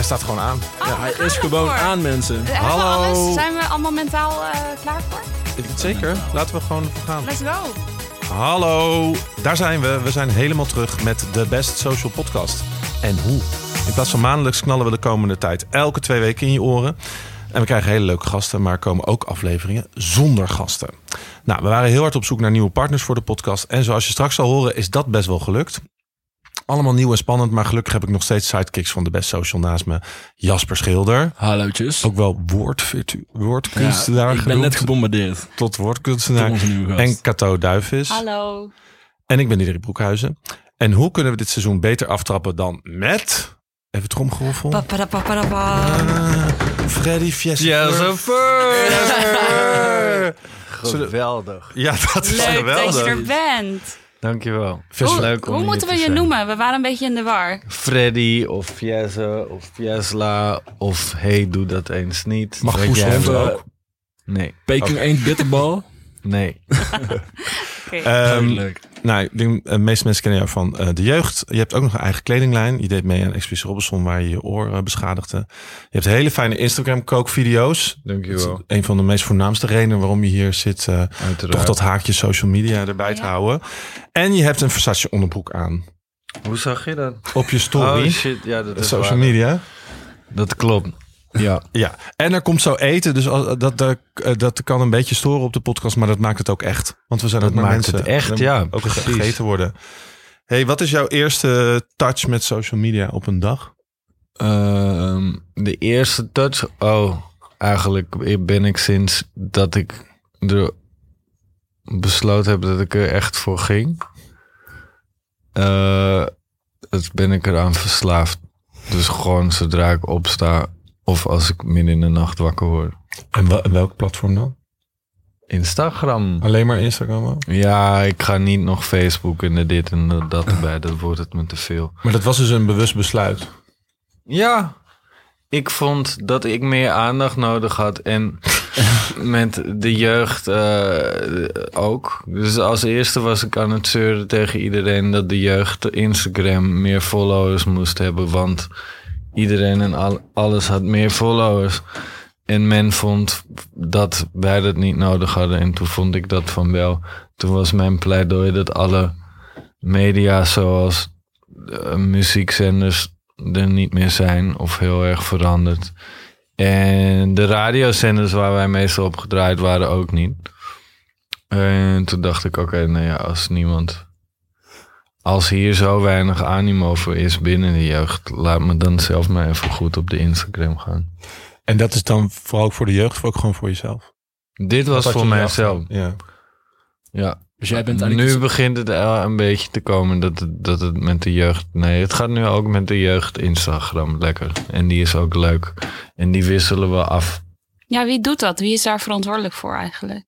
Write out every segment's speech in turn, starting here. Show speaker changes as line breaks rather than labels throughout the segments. staat gewoon aan.
Oh,
Hij
we gaan
is gewoon
ervoor.
aan mensen.
Hebben we
Hallo.
alles? Zijn we allemaal mentaal eh, klaar voor?
Zeker, laten we gewoon ervoor gaan.
Let's go.
Hallo, daar zijn we. We zijn helemaal terug met de Best Social Podcast. En hoe? In plaats van maandelijks knallen we de komende tijd elke twee weken in je oren. En we krijgen hele leuke gasten, maar er komen ook afleveringen zonder gasten. Nou, we waren heel hard op zoek naar nieuwe partners voor de podcast. En zoals je straks zal horen, is dat best wel gelukt. Allemaal nieuw en spannend, maar gelukkig heb ik nog steeds sidekicks van de Best Social naast me. Jasper Schilder,
Hallootjes.
ook wel woordvirtu- woordkunstenaar
ik ben net
genoemd.
gebombardeerd
Tot
door
woordkunstenaar.
onze nieuwe gast.
En Cato Duivis.
Hallo.
En ik ben Diederik Broekhuizen. En hoe kunnen we dit seizoen beter aftrappen dan met... Even tromgeroffel.
Eh,
Ah, Freddy Fiesta. Zullen-
Geweldig.
Ja, dat is
Leuk dat je
geweldig.
er bent.
Dankjewel.
Vis-
hoe
leuk om
hoe
hier
moeten
te
we je
zijn.
noemen? We waren een beetje in de war.
Freddy of Fiesse of Fiesla of hey, doe dat eens niet.
Mag
Weet
Poes
jij
Hond
wel?
ook?
Nee,
Peking eend bitterbal.
nee.
Oké.
Ehm,
leuk.
nou, ik denk, eh, de meeste mensen kennen jou van eh, de jeugd. Je hebt ook nog een eigen kledinglijn. Je deed mee aan Expeditie Robinson, waar je je oor eh, beschadigde. Je hebt hele fijne Instagram-kookvideo's. Dat is
Dankjewel.
een van de meest voornaamste redenen waarom je hier zit. eh, toch
Uiteraard.
dat haakje social media erbij te
Ja.
houden. En je hebt een Versace onderbroek aan.
Hoe zag je dat?
Op je
Oh
story.
shit, ja, dat is
social
waar.
media.
Dat klopt. Ja.
Ja, en er komt zo eten, dus al- dat, dat, dat kan een beetje storen op de podcast, maar dat maakt het ook echt. Want we zijn
Dat
ook maar
maakt
mensen.
het echt,
En
ja,
Ook
precies.
gegeten worden. hey, wat is jouw eerste touch met social media op een dag?
Ehm, de eerste touch. Oh, eigenlijk ben ik sinds dat ik er besloten heb dat ik er echt voor ging. eh, dat ben ik eraan verslaafd. Dus gewoon zodra ik opsta of als ik midden in de nacht wakker word.
En wel- en welk platform dan?
Instagram.
Alleen maar Instagram ook?
Ja, ik ga niet nog Facebook en de dit en de dat erbij. Dat wordt het me te veel.
Maar dat was dus een bewust besluit.
Ja, ik vond dat ik meer aandacht nodig had. En met de jeugd eh, ook. Dus als eerste was ik aan het zeuren tegen iedereen dat de jeugd Instagram meer followers moest hebben. Want iedereen en al- alles had meer followers. En men vond dat wij dat niet nodig hadden. En toen vond ik dat van wel. Toen was mijn pleidooi dat alle media zoals eh, muziekzenders er niet meer zijn of heel erg veranderd. En de radiozenders waar wij meestal op gedraaid waren ook niet. En toen dacht ik, oké, nou ja, als niemand... Als hier zo weinig animo voor is binnen de jeugd... laat me dan zelf maar even goed op de Instagram gaan.
En dat is dan vooral ook voor de jeugd, of ook gewoon voor jezelf?
Dit
Dat
was
had
voor
je niet
mijzelf.
afgedaan. Ja.
Ja.
Dus jij bent eigenlijk...
Nu begint het wel een beetje te komen dat het, dat het met de jeugd... Nee, het gaat nu ook met de jeugd Instagram lekker. En die is ook leuk. En die wisselen we af
Ja, wie doet dat? Wie is daar verantwoordelijk voor eigenlijk?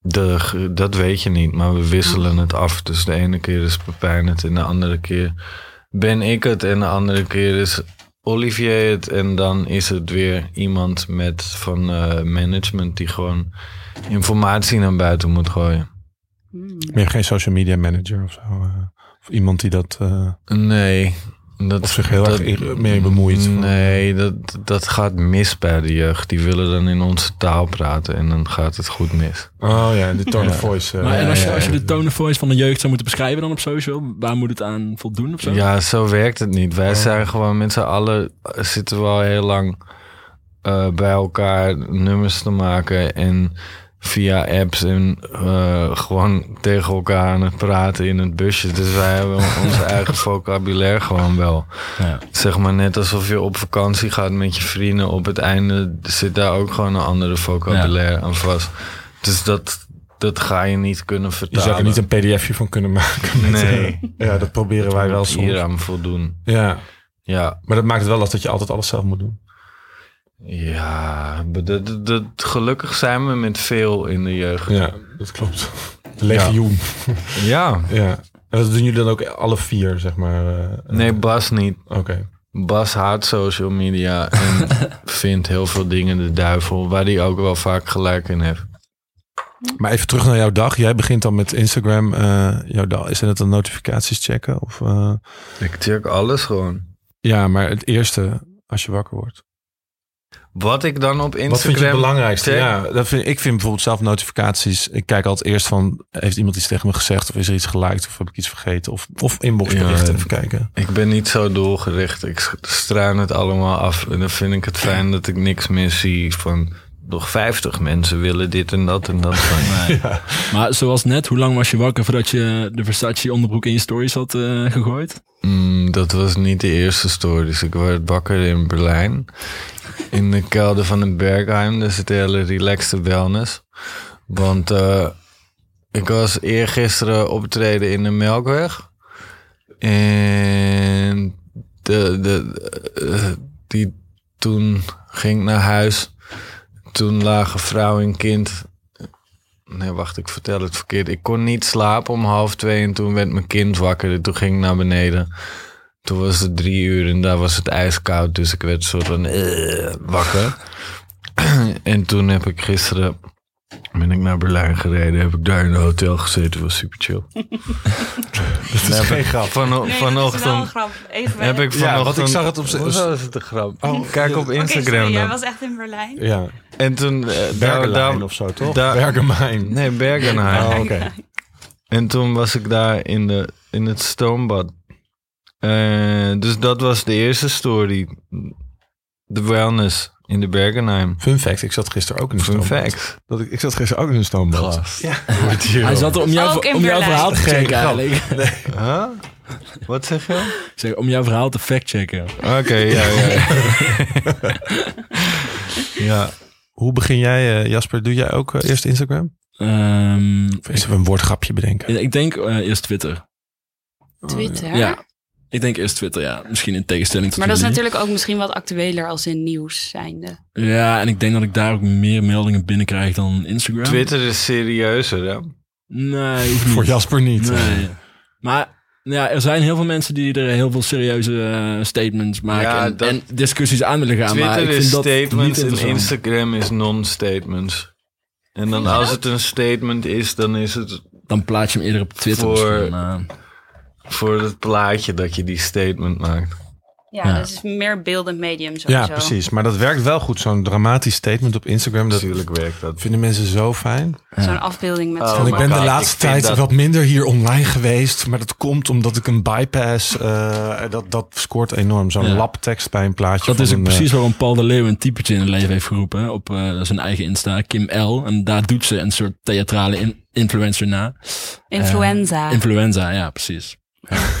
De, ge- dat weet je niet, maar we wisselen het af. Dus de ene keer is Pepijn het en de andere keer ben ik het. En de andere keer is Olivier het. En dan is het weer iemand met van eh, management die gewoon informatie naar buiten moet gooien.
Hmm.
Ben je geen social media manager of zo? eh? Of iemand die dat... eh,
Nee. Dat,
Of zich heel erg in- mee bemoeit.
Nee, dat, dat gaat mis bij de jeugd. Die willen dan in onze taal praten en dan gaat het goed mis.
Oh ja, de tone of voice. eh,
Maar en als, je,
ja,
als je
ja.
de tone of voice van de jeugd zou moeten beschrijven dan op social, waar moet het aan voldoen of zo?
Ja, zo werkt het niet. Wij
Ja.
zijn gewoon met z'n allen eh, zitten wel heel lang eh, bij elkaar nummers te maken en via apps en eh, gewoon tegen elkaar aan het praten in het busje. Dus wij hebben ons eigen vocabulaire gewoon wel.
Ja.
Zeg maar net alsof je op vakantie gaat met je vrienden. Op het einde zit daar ook gewoon een andere vocabulaire aan vast. Dus dat, dat ga je niet kunnen
Je
vertalen.
zou er niet een pdfje van kunnen maken. met,
Nee.
eh, ja, dat proberen wij wel soms.
hier aan voldoen.
Ja,
Ja,
maar dat maakt het wel lastig dat je altijd alles zelf moet doen.
Ja, maar dat, dat- dat- gelukkig zijn we met veel in de jeugd.
Ja, dat klopt. Legioen.
Ja.
Ja. En dat doen jullie dan ook alle vier, zeg maar? eh,
Nee, Bas niet.
Oké.
Bas haat social media en vindt heel veel dingen de duivel, waar hij ook wel vaak gelijk in heeft.
Maar even terug naar jouw dag. Jij begint dan met Instagram. eh, jouw dag. Is dat dan notificaties checken? Of, eh,
Ik check alles gewoon.
Ja, maar het eerste als je wakker wordt?
Wat ik dan op Instagram...
Wat vind je het belangrijkste?
check-
Ja, dat vind, ik vind bijvoorbeeld zelf notificaties. Ik kijk altijd eerst van, heeft iemand iets tegen me gezegd? Of is er iets geliked? Of heb ik iets vergeten? Of, of inboxberichten
Ja.
even kijken.
Ik ben niet zo doelgericht. Ik s- struin het allemaal af. En dan vind ik het fijn dat ik niks meer zie van... Nog 50 mensen willen dit en dat en dat van mij.
Maar zoals net, hoe lang was je wakker voordat je de Versace onderbroek in je stories had eh, gegooid?
Mm, dat was niet de eerste story. Dus ik werd bakker in Berlijn. In de kelder van een Bergheim. Dus het hele relaxte wellness. Want eh, ik was eergisteren optreden in de Melkweg. En de, de, eh, die toen ging ik naar huis. Toen lagen vrouw en kind. Nee, wacht, ik vertel het verkeerd. Ik kon niet slapen om half twee en toen werd mijn kind wakker. En toen ging ik naar beneden. Toen was het drie uur en daar was het ijskoud. Dus ik werd soort van eh, wakker. en toen heb ik gisteren... Ben ik naar Berlijn gereden, heb ik daar in een hotel gezeten. was super chill.
Dat is geen grap.
Vano-
Nee, dat is wel een
vanochtend
grap. Even
heb ik
Ja, want
vanochtend...
ik zag het op z-
Hoezo is het een grap?
Oh,
Kijk
ja.
op
Oké,
Instagram
sorry, jij
dan.
was echt in Berlijn.
Ja, Eh,
En toen... eh, daar,
Bergenlijn
daar,
of zo, toch?
daar-
Bergenmijn.
nee, Bergenheim.
Oh, oké.
En toen was ik daar in, de, in het stoombad. Eh, dus dat was de eerste story. De wellness in de Bergenheim.
Fun fact, ik zat gisteren ook in een
Fun
stoombad.
fact.
Dat ik, ik zat gisteren ook in een stoombad.
Gast.
Ja.
Hij zat er om, jouw-
Ook in
om jouw
Berlijn.
verhaal te
Geen
checken
grap.
eigenlijk.
Huh? Wat zeg je?
Ik zeg, om jouw verhaal te factchecken.
Oké, ja, ja. ja.
Hoe begin jij, eh, Jasper? Doe jij ook eh, eerst Instagram?
Ehm,
Of is er een woordgrapje bedenken?
ik denk eh, eerst Twitter.
Twitter.
Ja. Ik denk eerst Twitter, ja. Misschien in tegenstelling tot
Maar dat is
jullie.
natuurlijk ook misschien wat actueler als in nieuws zijnde.
Ja, en ik denk dat ik daar ook meer meldingen binnenkrijg dan Instagram.
Twitter is serieuzer, hè?
Nee, hoeft niet.
Voor Jasper niet.
Nee. Maar ja, er zijn heel veel mensen die er heel veel serieuze eh, statements maken
Ja,
en,
dat-
en discussies aan willen gaan. maar ik
Twitter
vind
is
dat
statements
niet
en
interessant.
Instagram is non-statements. En dan
Vind je
als
dat?
het een statement is, dan is het
Dan plaats je hem eerder op Twitter.
Voor-
misschien, eh. maar-
voor het plaatje dat je die statement maakt.
Ja,
Ja.
dat is meer beeldend medium sowieso.
Ja, precies. Maar dat werkt wel goed, zo'n dramatisch statement op Instagram. Dat
Natuurlijk werkt dat.
vinden mensen zo fijn.
Zo'n afbeelding met
Oh,
Want
zo'n...
ik
my
ben de
God,
laatste
ik vind
tijd
dat-
wat minder hier online geweest. Maar dat komt omdat ik een bypass... eh, dat, dat scoort enorm. Zo'n
Ja.
labtekst bij een plaatje.
Dat
van
is ook
een, eh,
precies waarom Paul de Leeuw een typetje in het leven heeft geroepen. hè, Op eh, zijn eigen Insta, Kim L. En daar doet ze een soort theatrale in- influencer na.
Influenza.
Influenza, ja, precies. Ja. maar
Kun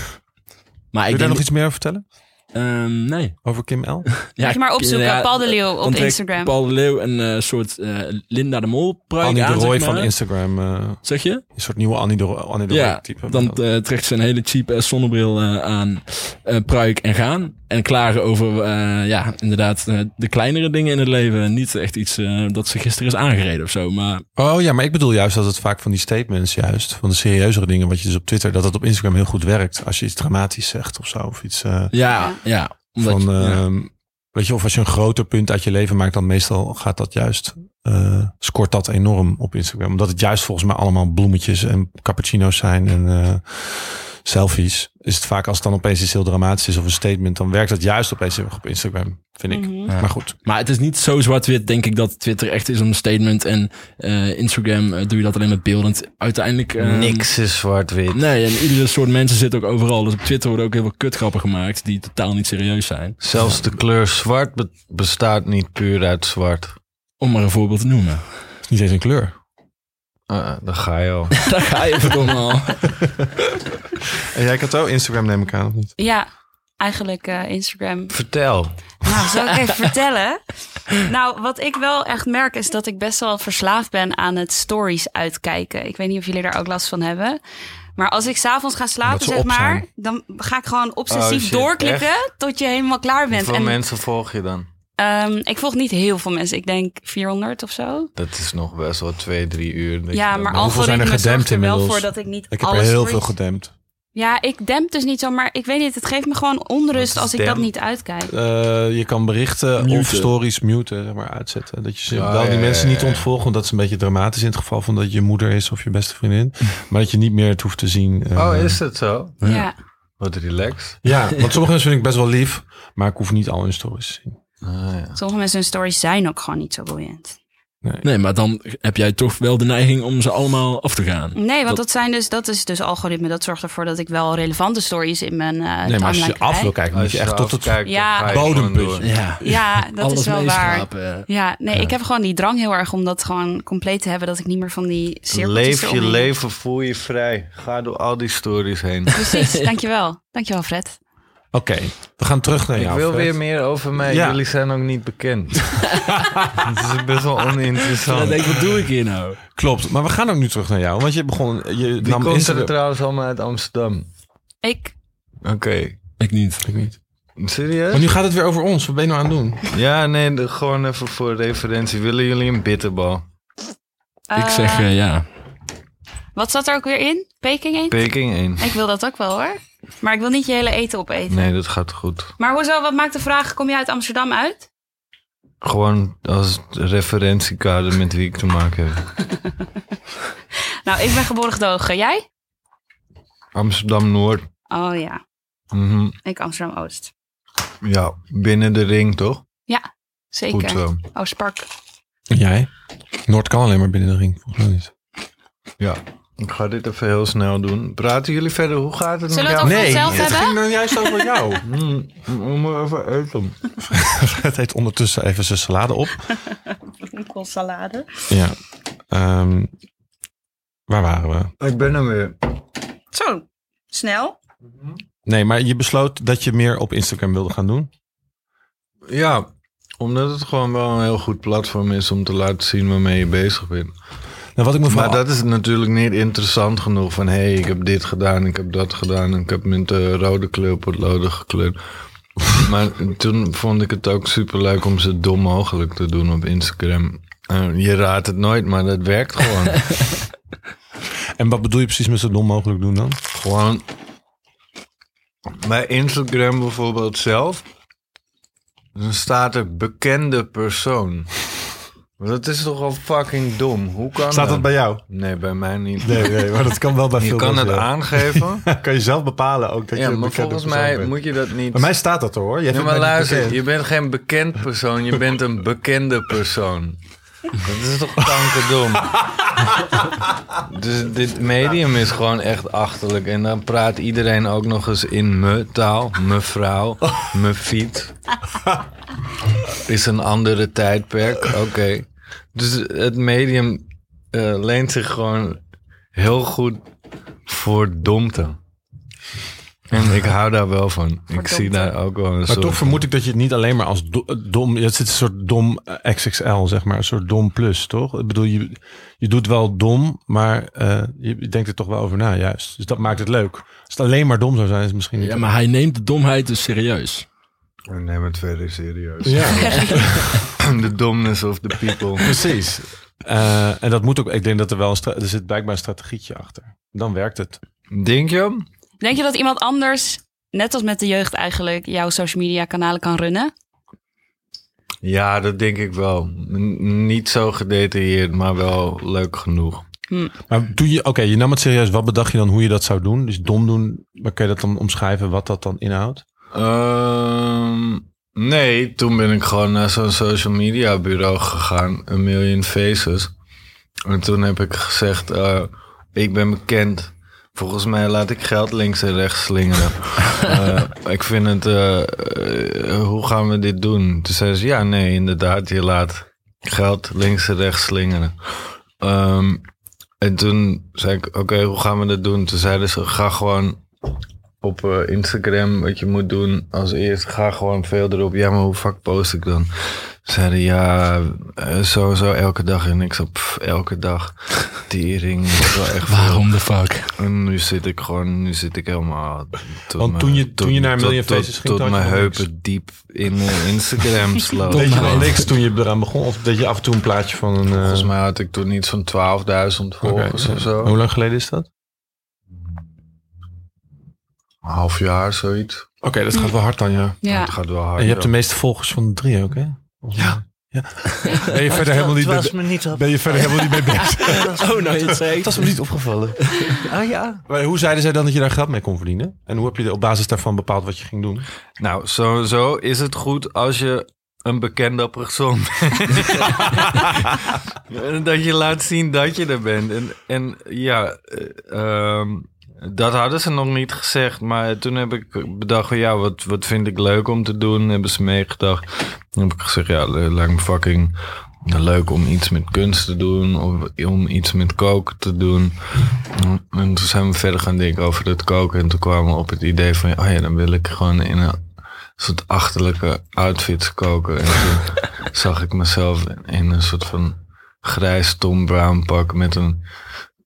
je
ik
daar
denk...
nog iets meer over vertellen?
ehm, nee.
Over Kim L?
Ja,
Moet je maar
ik-
opzoeken,
ja,
Paul de Leeuw
dan
op
trekt
Instagram.
Paul de Leeuw een eh, soort eh, Linda de Mol pruik
Annie de
aan, Oh, zeg
Roy
maar.
van Instagram. eh,
Zeg je?
een soort nieuwe Annie de Roy, Annie de Roy
Ja,
type.
dan eh, trekt ze een hele cheap eh, zonnebril eh, aan, eh, pruik en gaan. En klagen over, eh, ja, inderdaad, eh, de kleinere dingen in het leven. Niet echt iets eh, dat ze gisteren is aangereden of zo. Maar
Oh ja, maar ik bedoel juist dat het vaak van die statements juist, van de serieuzere dingen wat je dus op Twitter, dat het op Instagram heel goed werkt. Als je iets dramatisch zegt of zo, of iets eh,
ja, ja. Omdat
van,
je- ja.
ehm, weet je, of als je een groter punt uit je leven maakt, dan meestal gaat dat juist, eh, scoort dat enorm op Instagram. Omdat het juist volgens mij allemaal bloemetjes en cappuccino's zijn en eh, selfies. Is het vaak als het dan opeens iets heel dramatisch is of een statement, dan werkt dat juist opeens heel erg op Instagram, vind ik.
Mhm.
Maar goed.
Maar het is niet zo zwart-wit, denk ik, dat Twitter echt is om een statement. En eh, Instagram eh, doe je dat alleen met beeldend. Uiteindelijk... ehm,
Niks is zwart-wit.
Nee, en iedere soort mensen zit ook overal. Dus op Twitter worden ook heel veel kutgrappen gemaakt die totaal niet serieus zijn.
Zelfs de kleur zwart be- bestaat niet puur uit zwart.
Om maar een voorbeeld te noemen.
Het is niet eens een kleur.
Eh, daar ga je al.
Daar ga je verdomme al.
En jij kan ook Instagram neem ik aan, of niet?
Ja, eigenlijk eh, Instagram.
Vertel.
Nou, zal ik even vertellen? Nou, wat ik wel echt merk is dat ik best wel verslaafd ben aan het stories uitkijken. Ik weet niet of jullie daar ook last van hebben. Maar als ik s'avonds ga slapen,
Omdat ze
zeg
op
maar,
zijn.
dan ga ik gewoon
Oh,
obsessief
shit,
doorklikken tot je helemaal klaar bent.
Hoeveel
En
mensen volg je dan?
ehm, ik volg niet heel veel mensen. Ik denk 400 of zo.
Dat is nog best wel twee, drie uur. denk
Ja,
ik
maar
dan.
hoeveel zijn er
algoritme zorgt
gedempt
er wel
inmiddels?
voor dat ik niet
Ik heb
alle
er heel
stories-
veel gedempt.
Ja, ik demp dus niet zo, maar ik weet niet. Het geeft me gewoon onrust
Wat is
als ik dat
demp?
niet uitkijk.
Eh, je kan berichten
Muten.
of stories muten, zeg maar, uitzetten. Dat je ze
Ah,
wel die
ja,
mensen
ja,
niet
ja.
ontvolgt. Want dat is een beetje dramatisch in het geval van dat je moeder is of je beste vriendin. Maar dat je niet meer het hoeft te zien. eh,
Oh, is het zo?
Ja.
Wat relaxed.
Ja, want sommige mensen vind ik best wel lief, maar ik hoef niet al hun stories te zien.
Ah, ja.
Sommige mensen hun stories zijn ook gewoon niet zo boeiend.
Nee, maar dan heb jij toch wel de neiging om ze allemaal af te gaan.
Nee, want dat, zijn dus, dat is dus algoritme. Dat zorgt ervoor dat ik wel relevante stories in mijn eh
Nee, maar als
timeline
je af
krijg.
wil kijken, moet je echt tot het...
kijkt,
Ja.
bodemputje.
Ja,
Ja, dat
alles
is wel waar.
meeschrapen.
Ja, nee, ik heb gewoon die drang heel erg om dat gewoon compleet te hebben. Dat ik niet meer van die cirkeltjes
Leef je
eromheen-
leven, voel je vrij. Ga door al die stories heen.
Precies, dankjewel. Dankjewel, Fred.
Oké, we gaan terug naar
Ik
jou,
wil
Fred.
weer meer over mij.
Ja.
Jullie zijn ook niet bekend. Het is best wel
Dan
oninteressant.
denk ik, wat doe ik hier nou?
Klopt, maar we gaan ook nu terug naar jou, want je begon... Je
Wie
nam
komt er
Instagram-
trouwens allemaal uit Amsterdam?
Ik,
Oké.
Ik niet.
Ik niet. Maar
Serieus?
nu gaat het weer over ons, wat ben je nou aan het doen?
Ja, nee, de- gewoon even voor referentie. Willen jullie een bitterbal?
ik
eh,
zeg eh, ja.
Wat zat er ook weer in? Peking in?
Peking 1.
Ik wil dat ook wel hoor. Maar ik wil niet je hele eten opeten.
Nee, dat gaat goed.
Maar hoezo, wat maakt de vraag, kom je uit Amsterdam uit?
Gewoon als referentiekader met wie ik te maken heb.
Nou, ik ben geboren gedogen. Jij?
Amsterdam-Noord.
Oh ja,
Mhm.
ik Amsterdam-Oost.
Ja, binnen de ring, toch? Goed eh.
Zeker. Oh,
zo.
Oostpark.
En jij? Noord kan alleen maar binnen de ring, volgens mij niet.
Ja. Ik ga dit even heel snel doen. Praten jullie verder? Hoe gaat het
Zullen we
met
het
jou?
over onszelf
het
hebben?
ging nou juist over jou.
Mm, we moeten even eten.
Fred eet ondertussen even zijn salade op.
salade.
Ja. Ehm, waar waren we?
Ik ben er weer.
Zo, snel.
Nee, maar je besloot dat je meer op Instagram wilde gaan doen.
Ja, omdat het gewoon wel een heel goed platform is om te laten zien waarmee je bezig bent.
Nou, wat ik me
Maar
vooral...
dat is natuurlijk niet interessant genoeg. Van hé, hey, ik heb dit gedaan, ik heb dat gedaan. en Ik heb met de rode kleurpotloden gekleurd. maar toen vond ik het ook super leuk om ze dom mogelijk te doen op Instagram. Eh, je raadt het nooit, maar dat werkt gewoon.
En wat bedoel je precies met zo dom mogelijk doen dan?
Gewoon. Bij Instagram bijvoorbeeld zelf. Dan staat er bekende persoon. Dat is toch al fucking dom. Hoe kan
Staat dat bij jou?
Nee, bij mij niet.
Nee, nee, maar dat kan wel bij
Je
veel
kan het
mensen, ja.
aangeven.
Kan je zelf bepalen ook dat
ja,
je een
maar
bekende
volgens
persoon
mij
bent.
moet je dat niet.
Bij mij staat dat er, hoor. Jij
Nee,
vindt
maar
mij niet
luister,
bekend.
je bent geen bekend persoon. Je bent een bekende persoon. Dat is toch kankerdom. dus dit medium is gewoon echt achterlijk. En dan praat iedereen ook nog eens in me taal. Mevrouw, me fiets. Is een andere tijdperk. Oké. Dus het medium eh, leent zich gewoon heel goed voor domte. En ik hou daar wel van. Ik zie
domte.
daar ook wel een
Maar
soort
toch vermoed ik dat je het niet alleen maar als do- dom... Het zit een soort dom eh, XXL, zeg maar. Een soort dom plus, toch? Ik bedoel, je, je doet wel dom, maar eh, je denkt er toch wel over na, juist. Dus dat maakt het leuk. Als het alleen maar dom zou zijn, is het misschien niet
Ja, maar hij neemt de domheid dus serieus.
We nemen het verder serieus.
Ja,
The domness of the people.
precies. Eh, en dat moet ook... Ik denk dat er wel... Een stra- er zit blijkbaar een strategietje achter. Dan werkt het.
Denk je?
Denk je dat iemand anders, net als met de jeugd eigenlijk, jouw social media kanalen kan runnen?
Ja, dat denk ik wel. N- niet zo gedetailleerd, maar wel leuk genoeg.
Maar doe je... Oké, je nam het serieus. Wat bedacht je dan hoe je dat zou doen? Dus dom doen. Maar kun je dat dan omschrijven wat dat dan inhoudt?
Ehm, nee, toen ben ik gewoon naar zo'n social media bureau gegaan. Een million faces. En toen heb ik gezegd, eh, ik ben bekend. Volgens mij laat ik geld links en rechts slingeren. Eh, ik vind het, eh, eh, hoe gaan we dit doen? Toen zei ze, ja, nee, inderdaad, je laat geld links en rechts slingeren. Ehm, en toen zei ik, oké, hoe gaan we dat doen? Toen zeiden ze, ga gewoon op eh, Instagram wat je moet doen als eerst. Ga gewoon veel erop. Ja, maar hoe vaak post ik dan? Zeiden ja, eh, sowieso elke dag. En ik zat pff, elke dag. Tering, dat is wel echt veel.
Waarom de fuck?
En nu zit ik gewoon, nu zit ik helemaal... tot
Want toen je- toen je naar Million Faces ging,
Tot,
toen had je
mijn
nog niks.
heupen diep in eh, Instagram sloot.
Weet je
Maar-
nog niks toen je eraan begon? Of dat je af en toe een plaatje van een... eh,
Volgens mij had ik toen iets van 12.000 volgers
oké,
of
ja.
zo.
Hoe lang geleden is dat? Oké,
Een half jaar, zoiets.
dat gaat wel hard dan, ja.
Het gaat wel hard.
En je hebt
ja.
de meeste volgers van de drie ook, hè? Volgens mij. Ben je verder helemaal niet,
Het was
mee,
me niet op.
ben je verder helemaal niet mee bezig.
Oh, nou je het
Het
zegt.
was me niet opgevallen. Ah ja.
Maar hoe zeiden zij dan dat je daar geld mee kon verdienen? En hoe heb je op basis daarvan bepaald wat je ging doen?
Nou, sowieso is het goed als je een bekende persoon bent. dat je laat zien dat je er bent. En, en ja, eh, ehm, dat hadden ze nog niet gezegd. Maar toen heb ik bedacht, van, ja, wat, wat vind ik leuk om te doen? Hebben ze meegedacht. Toen heb ik gezegd, ja, le- lijkt me fucking leuk om iets met kunst te doen. Of om iets met koken te doen. En toen zijn we verder gaan denken over dat koken. En toen kwamen we op het idee van, oh ja, dan wil ik gewoon in een soort achterlijke outfits koken. En toen zag ik mezelf in een soort van grijs Tom Brown pak met een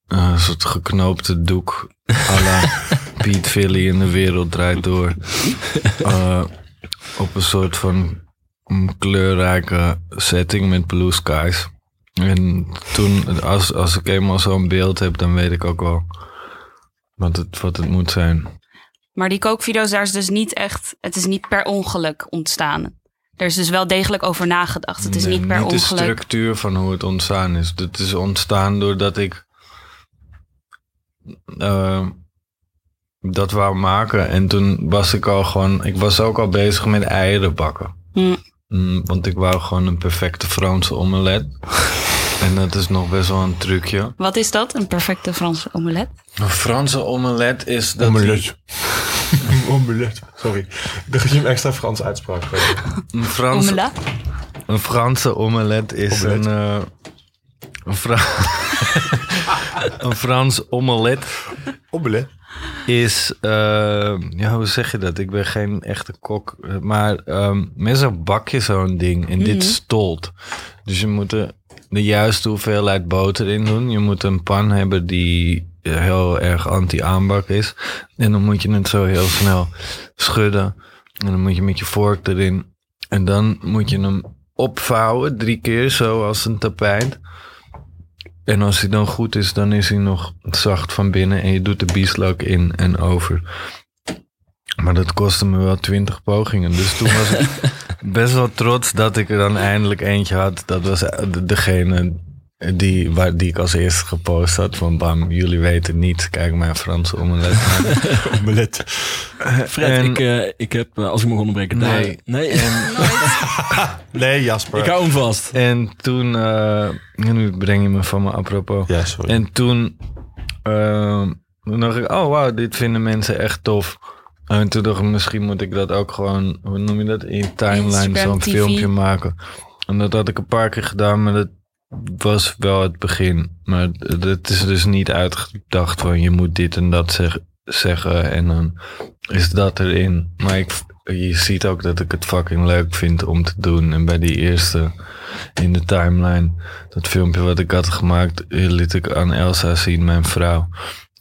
eh, soort geknoopte doek. à la Piet Philly in de wereld draait door. Eh, op een soort van kleurrijke setting met blue skies. En toen, als, als ik eenmaal zo'n beeld heb, dan weet ik ook wel wat het, wat het moet zijn.
Maar die kookvideo's, daar is dus niet echt... Het is niet per ongeluk ontstaan. Er is dus wel degelijk over nagedacht. Het is
Nee,
niet per
de
ongeluk.
structuur van hoe het ontstaan is. Het is ontstaan doordat ik eh, dat wou maken. En toen was ik al gewoon, ik was ook al bezig met eieren bakken.
Hm.
Mm, want ik wou gewoon een perfecte Franse omelet. en dat is nog best wel een trucje.
Wat is dat? Een perfecte Franse omelet?
Een Franse omelet is dat.
Omelet. Sorry. Ik dacht dat je hem extra Frans uitsprak.
Een Franse
Omelet?
Een Franse omelet is
Omelet.
een. eh, een, Fra- een Frans omelet
Omelet.
is. eh, ja, hoe zeg je dat? Ik ben geen echte kok. eh, Maar ehm meestal bak je zo'n ding en dit stolt. Dus je moet er de juiste hoeveelheid boter in doen. Je moet een pan hebben die eh, heel erg anti-aanbak is. En dan moet je het zo heel snel schudden. En dan moet je met je vork erin. En dan moet je hem opvouwen drie keer, zo als een tapijt. En als hij dan goed is, dan is hij nog zacht van binnen. En je doet de bieslook in en over. Maar dat kostte me wel twintig pogingen. Dus toen was ik best wel trots dat ik er dan eindelijk eentje had. Dat was eh, degene die, waar, die ik als eerste gepost had. Van bam, jullie weten niet. Kijk mijn Franse omelet aan.
Omelet.
Fred,
En-
ik, eh, ik heb, eh, als ik mag onderbreken, daar...
Nee.
nee
Nee, Jasper.
ik hou hem vast.
En toen, eh, nu breng je me van me apropos.
Ja, sorry.
En toen, ehm, toen dacht ik, oh wauw, dit vinden mensen echt tof. En toen dacht ik, misschien moet ik dat ook gewoon, hoe noem je dat, in je timeline
Instagram
zo'n
TV.
filmpje maken. En dat had ik een paar keer gedaan, maar dat was wel het begin. Maar het is dus niet uitgedacht van je moet dit en dat zeg- zeggen en dan is dat erin. Maar ik, je ziet ook dat ik het fucking leuk vind om te doen. En bij die eerste in de timeline, dat filmpje wat ik had gemaakt, eh, liet ik aan Elsa zien, mijn vrouw.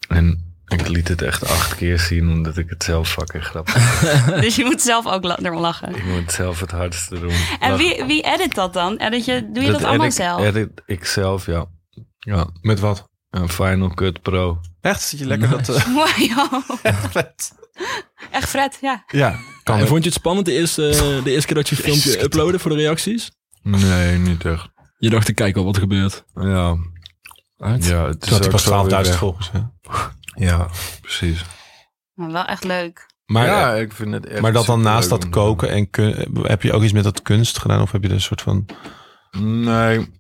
En ik liet het echt acht keer zien, omdat ik het zelf fucking grappig vind.
dus je moet zelf ook la- erom lachen.
Ik moet het zelf het hardste doen.
En
Lach.
wie, wie edit dat dan? Edit je, doe je dat, allemaal
edit,
zelf?
Edit ik zelf, ja. Ja,
Met wat?
een Final Cut Pro.
Echt? Zit je lekker dat... eh,
Mooi, joh. Echt Fred, ja.
ja, kan
En vond je het spannend de eerste, eh, de eerste keer dat je een filmpje uploadde voor de reacties?
Nee, niet echt.
Je dacht, ik kijk wel wat er gebeurt.
Ja, ja het is
Toen had hij
ook zo
pas 12.000
weer weg.
volgers. hè?
Ja, precies.
Maar wel echt leuk.
Maar, eh,
ja, ik vind het echt
maar dat dan naast
superleuk
dat
om te doen.
koken en kun- heb je ook iets met dat kunst gedaan? Of heb je er een soort van...
Nee.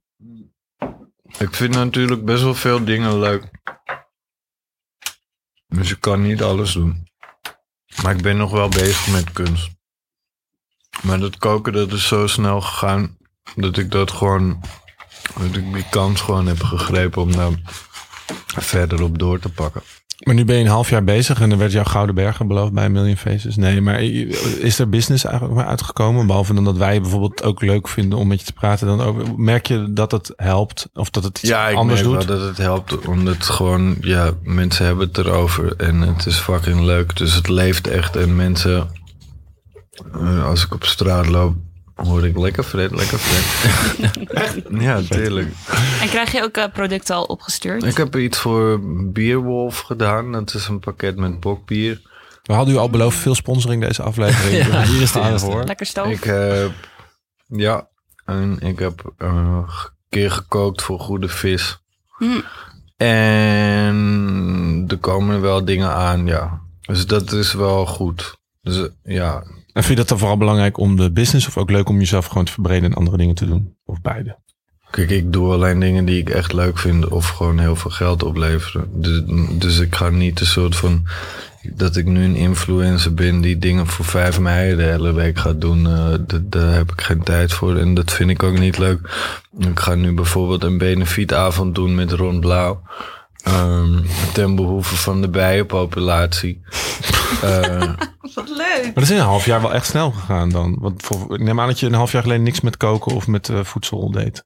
Ik vind natuurlijk best wel veel dingen leuk. Dus je kan niet alles doen. Maar ik ben nog wel bezig met kunst. Maar dat koken, dat is zo snel gegaan. Dat ik dat gewoon. Dat ik die kans gewoon heb gegrepen om daar verder op door te pakken.
Maar nu ben je een half jaar bezig en er werd jouw Gouden Bergen beloofd bij Million Faces. Nee, maar is er business eigenlijk maar uitgekomen? Behalve dan dat wij bijvoorbeeld ook leuk vinden om met je te praten. Dan over, merk je dat het helpt? Of dat het iets
Ja, ik
anders
merk
doet?
wel dat het helpt. Omdat het gewoon, ja, mensen hebben het erover. En het is fucking leuk. Dus het leeft echt. En mensen, eh, als ik op straat loop, hoor ik lekker Fred, lekker Fred. ja, tuurlijk.
En krijg je ook eh, producten al opgestuurd?
Ik heb iets voor Bierwolf gedaan. Dat is een pakket met bokbier.
We hadden u al beloofd veel sponsoring deze aflevering. Ah,
Ja, hier is de
Gaan
eh,
eerste.
voor.
Lekker stof.
Ik heb, ja, En ik heb een keer gekookt voor goede vis.
Hm.
En er komen wel dingen aan, ja. Dus dat is wel goed. Dus eh, ja,
En vind je dat dan vooral belangrijk om de business of ook leuk om jezelf gewoon te verbreden en andere dingen te doen? Of beide?
Kijk, ik doe alleen dingen die ik echt leuk vind of gewoon heel veel geld opleveren. Dus, dus ik ga niet de soort van dat ik nu een influencer ben die dingen voor vijf mei de hele week gaat doen. eh, d- daar heb ik geen tijd voor en dat vind ik ook niet leuk. Ik ga nu bijvoorbeeld een benefietavond doen met Ron Blauw. ehm, ten behoeve van de bijenpopulatie. Eh,
Wat leuk.
Maar dat is in een half jaar wel echt snel gegaan dan. Want voor, ik neem aan dat je een half jaar geleden niks met koken of met eh, voedsel deed.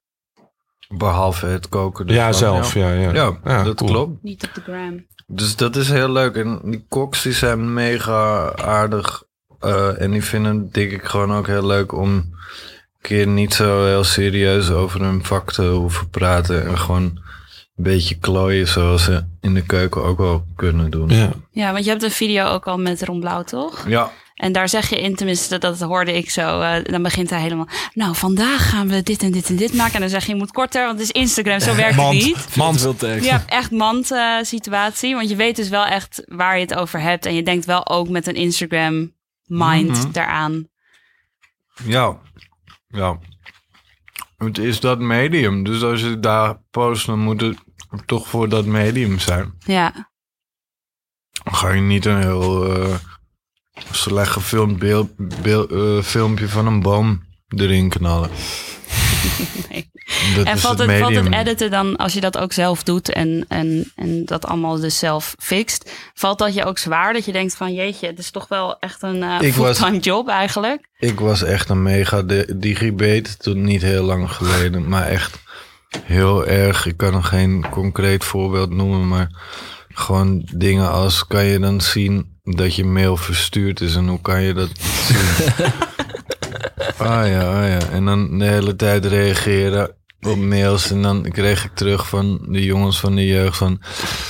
behalve het koken.
ja,
ervan,
zelf. Ja, ja.
Ja,
Ja,
dat
cool.
klopt.
Niet op de gram.
Dus dat is heel leuk. En die koks die zijn mega aardig. eh, en die vinden denk ik gewoon ook heel leuk om een keer niet zo heel serieus over hun vak te hoeven praten. En gewoon een beetje klooien zoals ze in de keuken ook wel kunnen doen.
Ja.
Ja, want je hebt een video ook al met Ron Blauw, toch?
Ja,
En daar zeg je in, tenminste, dat, dat hoorde ik zo. eh, dan begint hij helemaal. Nou, vandaag gaan we dit en dit en dit maken. En dan zeg je, je moet korter, want het is Instagram, zo werkt het niet.
Man,
Mand.
veel tekst.
Je hebt echt mand-situatie. want je weet dus wel echt waar je het over hebt. En je denkt wel ook met een Instagram-mind
Mhm.
daaraan.
ja, ja. Het is dat medium. Dus als je daar post, dan moet het toch voor dat medium zijn.
Ja.
ga je niet een heel eh, slecht gefilmd beeld, beeld- eh, filmpje van een boom erin knallen.
Nee.
Dat
En
is
valt
het
het, valt
medium.
het editen dan, als je dat ook zelf doet en, en, en dat allemaal dus zelf fixt, valt dat je ook zwaar? Dat je denkt van, jeetje, het is toch wel echt een eh
Ik was-
fulltime job eigenlijk.
Ik was echt een mega de- digibate toen niet heel lang geleden, maar echt heel erg. Ik kan nog geen concreet voorbeeld noemen, maar gewoon dingen als kan je dan zien dat je mail verstuurd is en hoe kan je dat zien? ah ja, ah ja. En dan de hele tijd reageren op mails en dan kreeg ik terug van de jongens van de jeugd van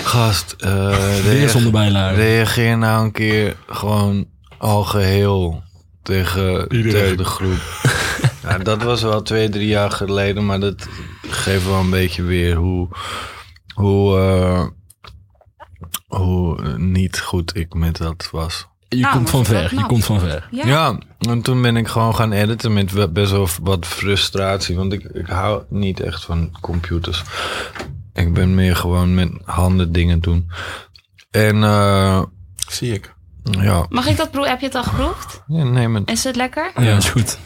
gast, eh
Weer
reage-
zonder bijlage.
Reageer nou een keer gewoon al geheel tegen,
Iedereen.
tegen de groep. ja, dat was wel twee, drie jaar geleden, maar dat geeft wel een beetje weer hoe, hoe, eh, hoe eh, niet goed ik met dat was.
Je
Nou,
komt
maar
van
vind ik
ver.
wel
Je
knap.
komt van ver.
Ja.
Ja. en toen ben ik gewoon gaan editen met wel- best wel wat frustratie, want ik, ik hou niet echt van computers. Ik ben meer gewoon met handen dingen doen. En eh,
Zie ik.
ja,
Mag ik dat proeven? Heb je het al geproefd?
Ja, neem het.
Is het lekker?
Ja, is goed.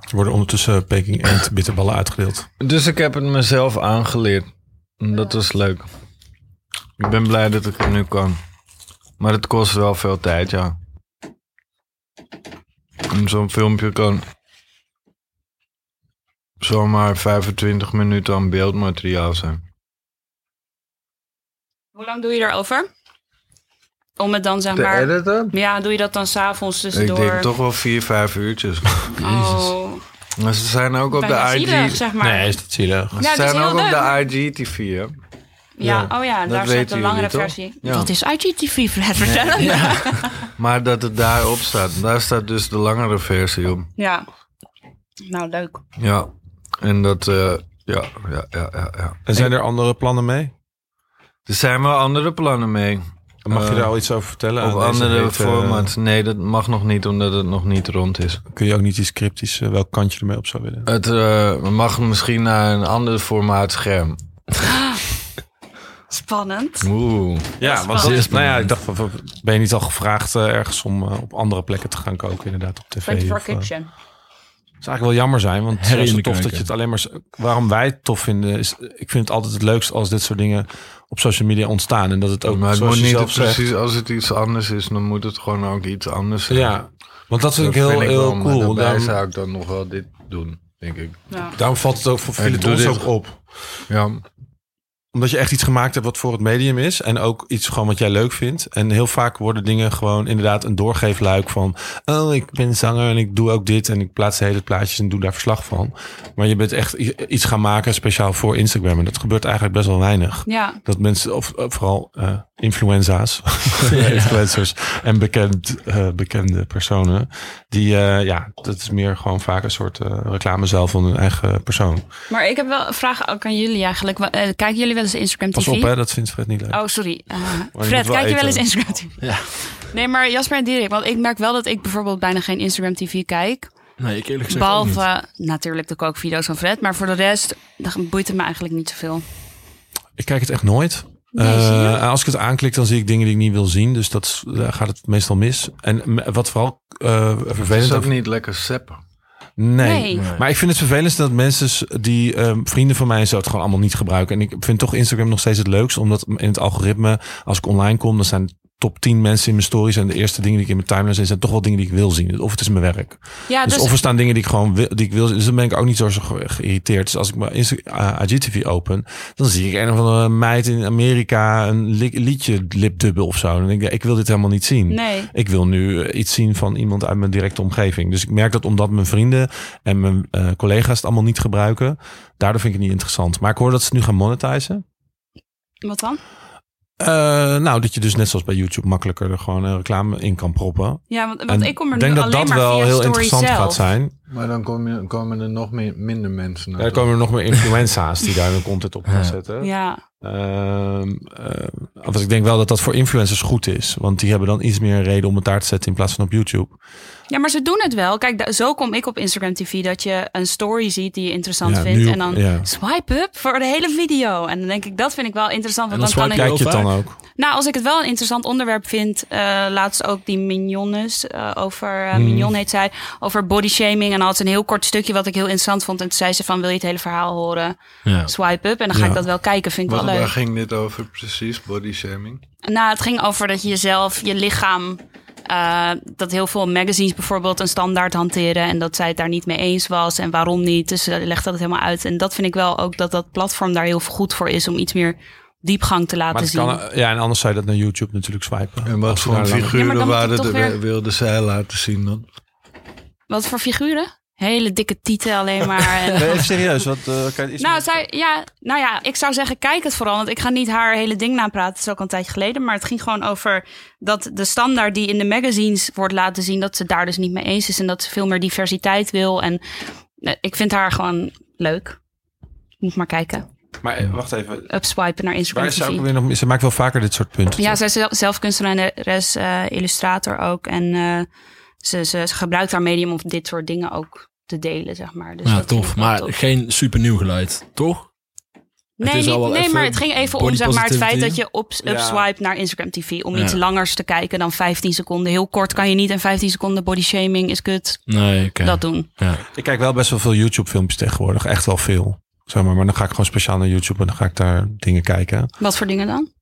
Er worden ondertussen Peking Eend bitterballen uitgedeeld.
Dus ik heb het mezelf aangeleerd. En Dat was leuk. Ik ben blij dat ik het nu kan. Maar het kost wel veel tijd, ja. En Zo'n filmpje kan zomaar 25 minuten aan beeldmateriaal zijn.
Hoe lang doe je erover? Om het dan zeg
Te
maar.
editen?
Ja, doe je dat dan s'avonds
Ik
tussendoor?
denk toch wel 4, 5 uurtjes.
Jezus.
Oh,
Maar ze zijn ook op
bijna
de
zielig,
IG.
zeg maar.
dat zielig?
Ja,
Ze
het is
zijn
heel
ook op
leuk.
de IGTV, hè?
Ja,
Ja,
oh ja,
dat
daar staat
weten
de langere
jullie, toch?
versie.
Ja.
Dat is IGTV, Fred, vertel ja.
Maar dat het daarop staat. Daar staat dus de langere versie op.
ja. Nou, leuk.
Ja, en dat, eh, ja, ja, ja, ja, ja.
En zijn er andere plannen mee?
Er zijn wel andere plannen mee.
Mag je
Eh,
daar al iets over vertellen?
Of
Aan deze eh,
andere
hete-
formats. Nee, dat mag nog niet, omdat het nog niet rond is.
Kun je ook niet iets cryptisch eh, welk kantje ermee op zou willen?
Het eh, mag misschien naar een ander formaat scherm.
Spannend.
Oeh.
Ja, want
spannend.
dat- nou ja, ik dacht, van, van, ben je niet al gevraagd eh, ergens om eh, op andere plekken te gaan koken, inderdaad, op tv? eh,
Twenty
Het
Four
zou
Kitchen.
eigenlijk wel jammer zijn, want het
Herrie
is
in
zo
de
tof dat
keuken.
je het alleen maar... z- Waarom wij het tof vinden, is ik vind het altijd het leukst als dit soort dingen op social media ontstaan. En dat het ook,
Maar het
Oh, zoals
moet
je
niet
zelf zegt...
precies, als het iets anders is, dan moet het gewoon ook iets anders zijn.
Ja, want dat vind
Dat
ik heel, heel
wel, maar
cool.
Daarbij
Daarom,
zou ik dan nog wel dit doen, denk ik.
Ja.
daarom valt het ook voor
Ik
veel
doe
ons
dit.
ook op.
Ja.
Omdat je echt iets gemaakt hebt wat voor het medium is. En ook iets gewoon wat jij leuk vindt. En heel vaak worden dingen gewoon inderdaad een doorgeefluik van... Oh, ik ben zanger en ik doe ook dit. En ik plaats de hele plaatjes en doe daar verslag van. Maar je bent echt i- iets gaan maken speciaal voor Instagram. En dat gebeurt eigenlijk best wel weinig.
Ja,
Dat mensen, of, of vooral eh, influenza's, influencers en bekend, eh, bekende personen. Die, eh, ja, dat is meer gewoon vaak een soort eh, reclame zelf van hun eigen persoon.
maar ik heb wel een vraag ook aan jullie eigenlijk. Wa- eh, Kijken jullie wel eens Instagram TV?
Pas op, hè, dat vindt Fred niet leuk.
Oh, sorry. Eh,
moet
Fred,
wel
kijk je wel eens
eten.
Instagram TV?
Ja.
Nee, maar Jasper en Dirk, want ik merk wel dat ik bijvoorbeeld bijna geen Instagram TV kijk.
Nee, ik eerlijk gezegd ook niet.
Behalve natuurlijk de kookvideo's van Fred, maar voor de rest dan boeit het me eigenlijk niet zoveel.
Ik kijk het echt nooit.
Nee, zie je?
Eh, als ik het aanklik, dan zie ik dingen die ik niet wil zien. Dus dat, is- daar gaat het meestal mis. En m- wat vooral eh
Het
vervelend
is ook
aan-
niet lekker seppen.
Nee.
Nee.
Nee.
Maar ik vind het vervelend dat mensen s- die ehm, vrienden van mij en zo het gewoon allemaal niet gebruiken. En ik vind toch Instagram nog steeds het leukst. Omdat in het algoritme, als ik online kom, dan zijn top 10 mensen in mijn stories. En de eerste dingen die ik in mijn timeline zie, zijn toch wel dingen die ik wil zien. Of het is mijn werk.
Ja,
dus,
dus,
of er staan dingen die ik gewoon wil, die ik wil zien. Dus dan ben ik ook niet zo ge- geïrriteerd. Dus als ik mijn Insta- eh, IGTV open, dan zie ik een of andere meid in Amerika een li- liedje lipdubben of zo. En dan denk ik, ik wil dit helemaal niet zien.
nee.
Ik wil nu eh, iets zien van iemand uit mijn directe omgeving. Dus ik merk dat omdat mijn vrienden en mijn eh, collega's het allemaal niet gebruiken, daardoor vind ik het niet interessant. Maar ik hoor dat ze het nu gaan monetizen.
Wat dan?
Eh, nou, dat je dus net zoals bij YouTube makkelijker er gewoon een reclame in kan proppen.
Ja, want, want
En
ik kom er
denk
nu
dat
alleen
dat
maar
wel
via
heel
story
interessant
zelf.
gaat zijn.
Maar dan kom je- komen er nog meer, minder mensen naar.
Er komen er nog meer influenza's die daar hun content op gaan
Ja.
zetten.
Ja,
Ehm, ehm, want ik denk wel dat dat voor influencers goed is. Want die hebben dan iets meer een reden om het daar te zetten in plaats van op YouTube.
ja, maar ze doen het wel. Kijk, da- zo kom ik op Instagram TV dat je een story ziet die je interessant
Ja,
vindt.
nu op-
en dan
ja.
swipe up voor de hele video. En dan denk ik, dat vind ik wel interessant.
En
Want dan,
dan
kan ik,
swipe
Kijk je het
Heel
dan ook?
Nou, als ik het wel een interessant onderwerp vind. eh, laatst ook die Mignonnes. eh, over, eh
Hmm.
Mignon heet zij. Over body shaming. En dan had ze een heel kort stukje wat ik heel interessant vond. En toen zei ze van, wil je het hele verhaal horen?
Ja.
Swipe up. En dan ga
Ja.
ik dat wel kijken. Vind ik
Wat,
wel leuk.
waar ging dit over precies? Body shaming?
Nou, het ging over dat je jezelf, je lichaam. eh, dat heel veel magazines bijvoorbeeld een standaard hanteren. En dat zij het daar niet mee eens was. En waarom niet. Dus ze legde dat helemaal uit. En dat vind ik wel ook dat dat platform daar heel goed voor is. om iets meer diepgang te laten
Maar het
zien.
kan, ja, en anders zou je dat naar YouTube natuurlijk swipen.
En
Als
wat
je
voor
daar lang-
Ja, maar
figuren
dan moet
waren
het
de,
toch weer-
wilde zij laten zien dan?
Wat voor figuren? Hele dikke tieten alleen maar. En,
Nee, even serieus. Wat, eh, kan je iets
nou,
meer-
zij, ja, nou ja, ik zou zeggen, kijk het vooral. Want ik ga niet haar hele ding napraten. Het is ook al een tijdje geleden. Maar het ging gewoon over dat de standaard die in de magazines wordt laten zien... dat ze daar dus niet mee eens is. En dat ze veel meer diversiteit wil. En eh, ik vind haar gewoon leuk. Moet maar kijken.
Maar eh, wacht even.
Upswipen naar Instagram
Waar is ze ook
TV.
weer nog... Ze maakt wel vaker dit soort punten.
Ja,
toch?
zij is zel- zelf kunstenares, eh, illustrator ook. En eh, ze, ze, ze gebruikt haar medium om dit soort dingen ook te delen, zeg maar. Dus
Ja,
dat vind
tof.
ik wel
Maar
tof.
geen super nieuw geluid, toch?
Nee,
Het is
niet-
al wel
nee
even
maar het ging even om
body
zeg maar, het feit dat
positivity.
je op,
Ja.
upswipe naar Instagram TV. Om iets
Ja.
langers te kijken dan 15 seconden. Heel kort kan je niet en 15 seconden body shaming is kut.
Nee, oké.
Dat doen.
Ik kijk wel best wel veel YouTube filmpjes tegenwoordig. Echt wel veel. Zeg maar. maar dan ga ik gewoon speciaal naar YouTube en dan ga ik daar dingen kijken.
Wat voor dingen dan?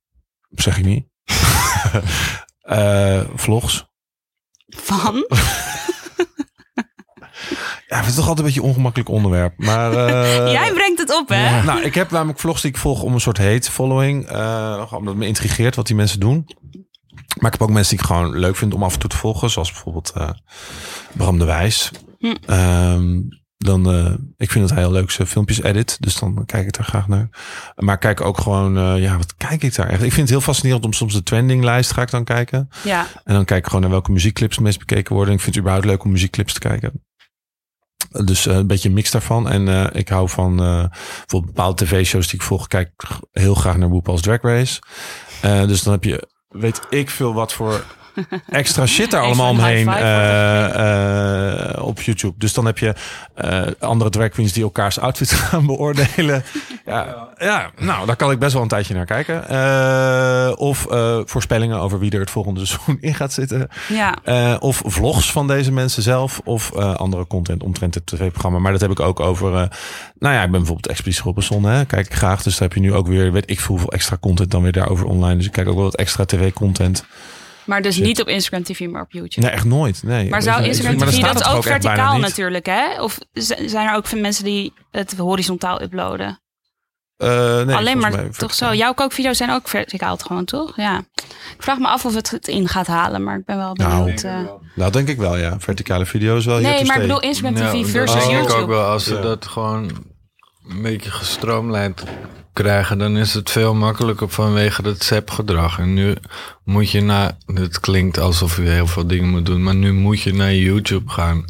Zeg ik niet. Eh, vlogs.
Van?
Ja, ik vind het toch altijd een beetje een ongemakkelijk onderwerp. Maar, eh,
Jij brengt het op, hè?
Ja.
Nou, ik heb namelijk vlogs die ik volg om een soort hate following. eh, gewoon omdat het me intrigeert wat die mensen doen. Maar ik heb ook mensen die ik gewoon leuk vind om af en toe te volgen. Zoals bijvoorbeeld eh, Bram de Wijs.
Hm.
Ehm, dan, eh, ik vind dat hij heel leuk zijn filmpjes edit. Dus dan kijk ik daar graag naar. Maar ik kijk ook gewoon, eh, ja, wat kijk ik daar echt? Ik vind het heel fascinerend om soms de trendinglijst ga ik dan kijken.
Ja.
En dan kijk ik gewoon naar welke muziekclips het meest bekeken worden. Ik vind het überhaupt leuk om muziekclips te kijken. Dus eh, een beetje een mix daarvan. En eh, ik hou van eh, bijvoorbeeld bepaalde tv-shows die ik volg. Kijk ik g- heel graag naar RuPaul's Drag Race. Eh, dus dan heb je, weet ik veel wat voor extra shit daar
Even
allemaal
een
omheen
high five
eh, eh, op YouTube. Dus dan heb je eh, andere drag queens die elkaars outfits gaan beoordelen. Ja, ja, nou, daar kan ik best wel een tijdje naar kijken. Eh, of eh, voorspellingen over wie er het volgende seizoen in gaat zitten.
ja.
Eh, of vlogs van deze mensen zelf. Of eh, andere content omtrent het tv-programma. Maar dat heb ik ook over... eh, nou ja, ik ben bijvoorbeeld Expeditie Robinson. Hè, kijk ik graag. Dus daar heb je nu ook weer... Weet ik veel hoeveel extra content dan weer daarover online. Dus ik kijk ook wel wat extra tv-content.
Maar dus
Shit.
niet op Instagram TV, maar op YouTube.
Nee, echt nooit. Nee.
Maar zou
Ik-
Instagram
maar dan
TV,
staat
dat is
het er
ook
echt bijna
verticaal
niet.
natuurlijk, hè? Of z- zijn er ook veel mensen die het horizontaal uploaden?
Eh, nee,
Alleen
volgens
maar
mij
toch
verticaal.
zo. Jouw kookvideo's zijn ook verticaal gewoon, toch? Ja. Ik vraag me af of het het in gaat halen, maar ik ben wel
Nou,
benieuwd. eh.
Nou, denk ik wel, ja. Verticale video is wel hier
nee,
te
maar ik
stay.
bedoel Instagram TV
Ja, dat
versus
denk ik
YouTube.
ook wel. Als ze
Ja.
dat gewoon een beetje gestroomlijnd krijgen, dan is het veel makkelijker vanwege dat SEP-gedrag. En nu moet je naar, het klinkt alsof je heel veel dingen moet doen, maar nu moet je naar YouTube gaan.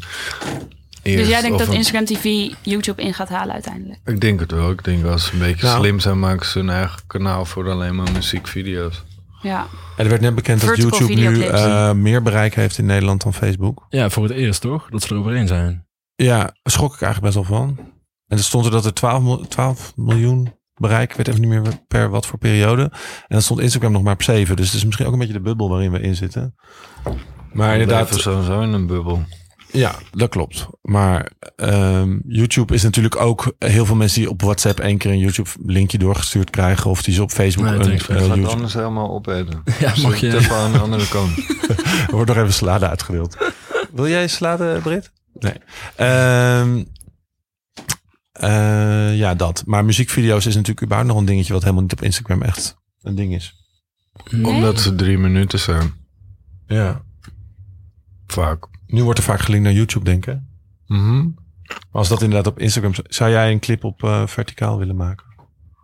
Dus
Eerst,
jij denkt
of
dat
een-
Instagram TV YouTube in gaat halen uiteindelijk?
Ik denk het wel. Ik denk als ze een beetje
Nou.
slim zijn, maken ze hun eigen kanaal voor alleen maar muziekvideo's.
Ja.
En er werd net bekend dat
Vertical
YouTube nu
videoclips.
eh, meer bereik heeft in Nederland dan Facebook.
Ja, voor het eerst toch? Dat ze eroverheen zijn.
Ja, daar schrok ik eigenlijk best wel van. En er stond er dat er 12, mil- 12 miljoen bereik, ik weet even niet meer per wat voor periode. En dan stond Instagram nog maar op 7. Dus het is misschien ook een beetje de bubbel waarin we in zitten. Maar
Leven
inderdaad,
sowieso in een bubbel.
ja, dat klopt. Maar ehm, YouTube is natuurlijk ook eh, heel veel mensen die op WhatsApp één keer een YouTube linkje doorgestuurd krijgen. Of die ze op Facebook
Nee,
een
thanks,
eh,
thanks.
Gaat
YouTube.
anders helemaal opeten.
Ja, mag
Zet
je.
even aan de andere kant.
Er wordt nog even salade uitgedeeld. Wil jij salade, Brit? Nee. Ehm, eh, ja, dat. Maar muziekvideo's is natuurlijk überhaupt nog een dingetje... wat helemaal niet op Instagram echt een ding is.
Nee?
Omdat ze drie minuten zijn.
Ja.
Vaak.
Nu wordt er vaak gelinkt naar YouTube, denk ik. hè? Maar
Mhm.
als dat inderdaad op Instagram... zou- Zou jij een clip op eh, verticaal willen maken?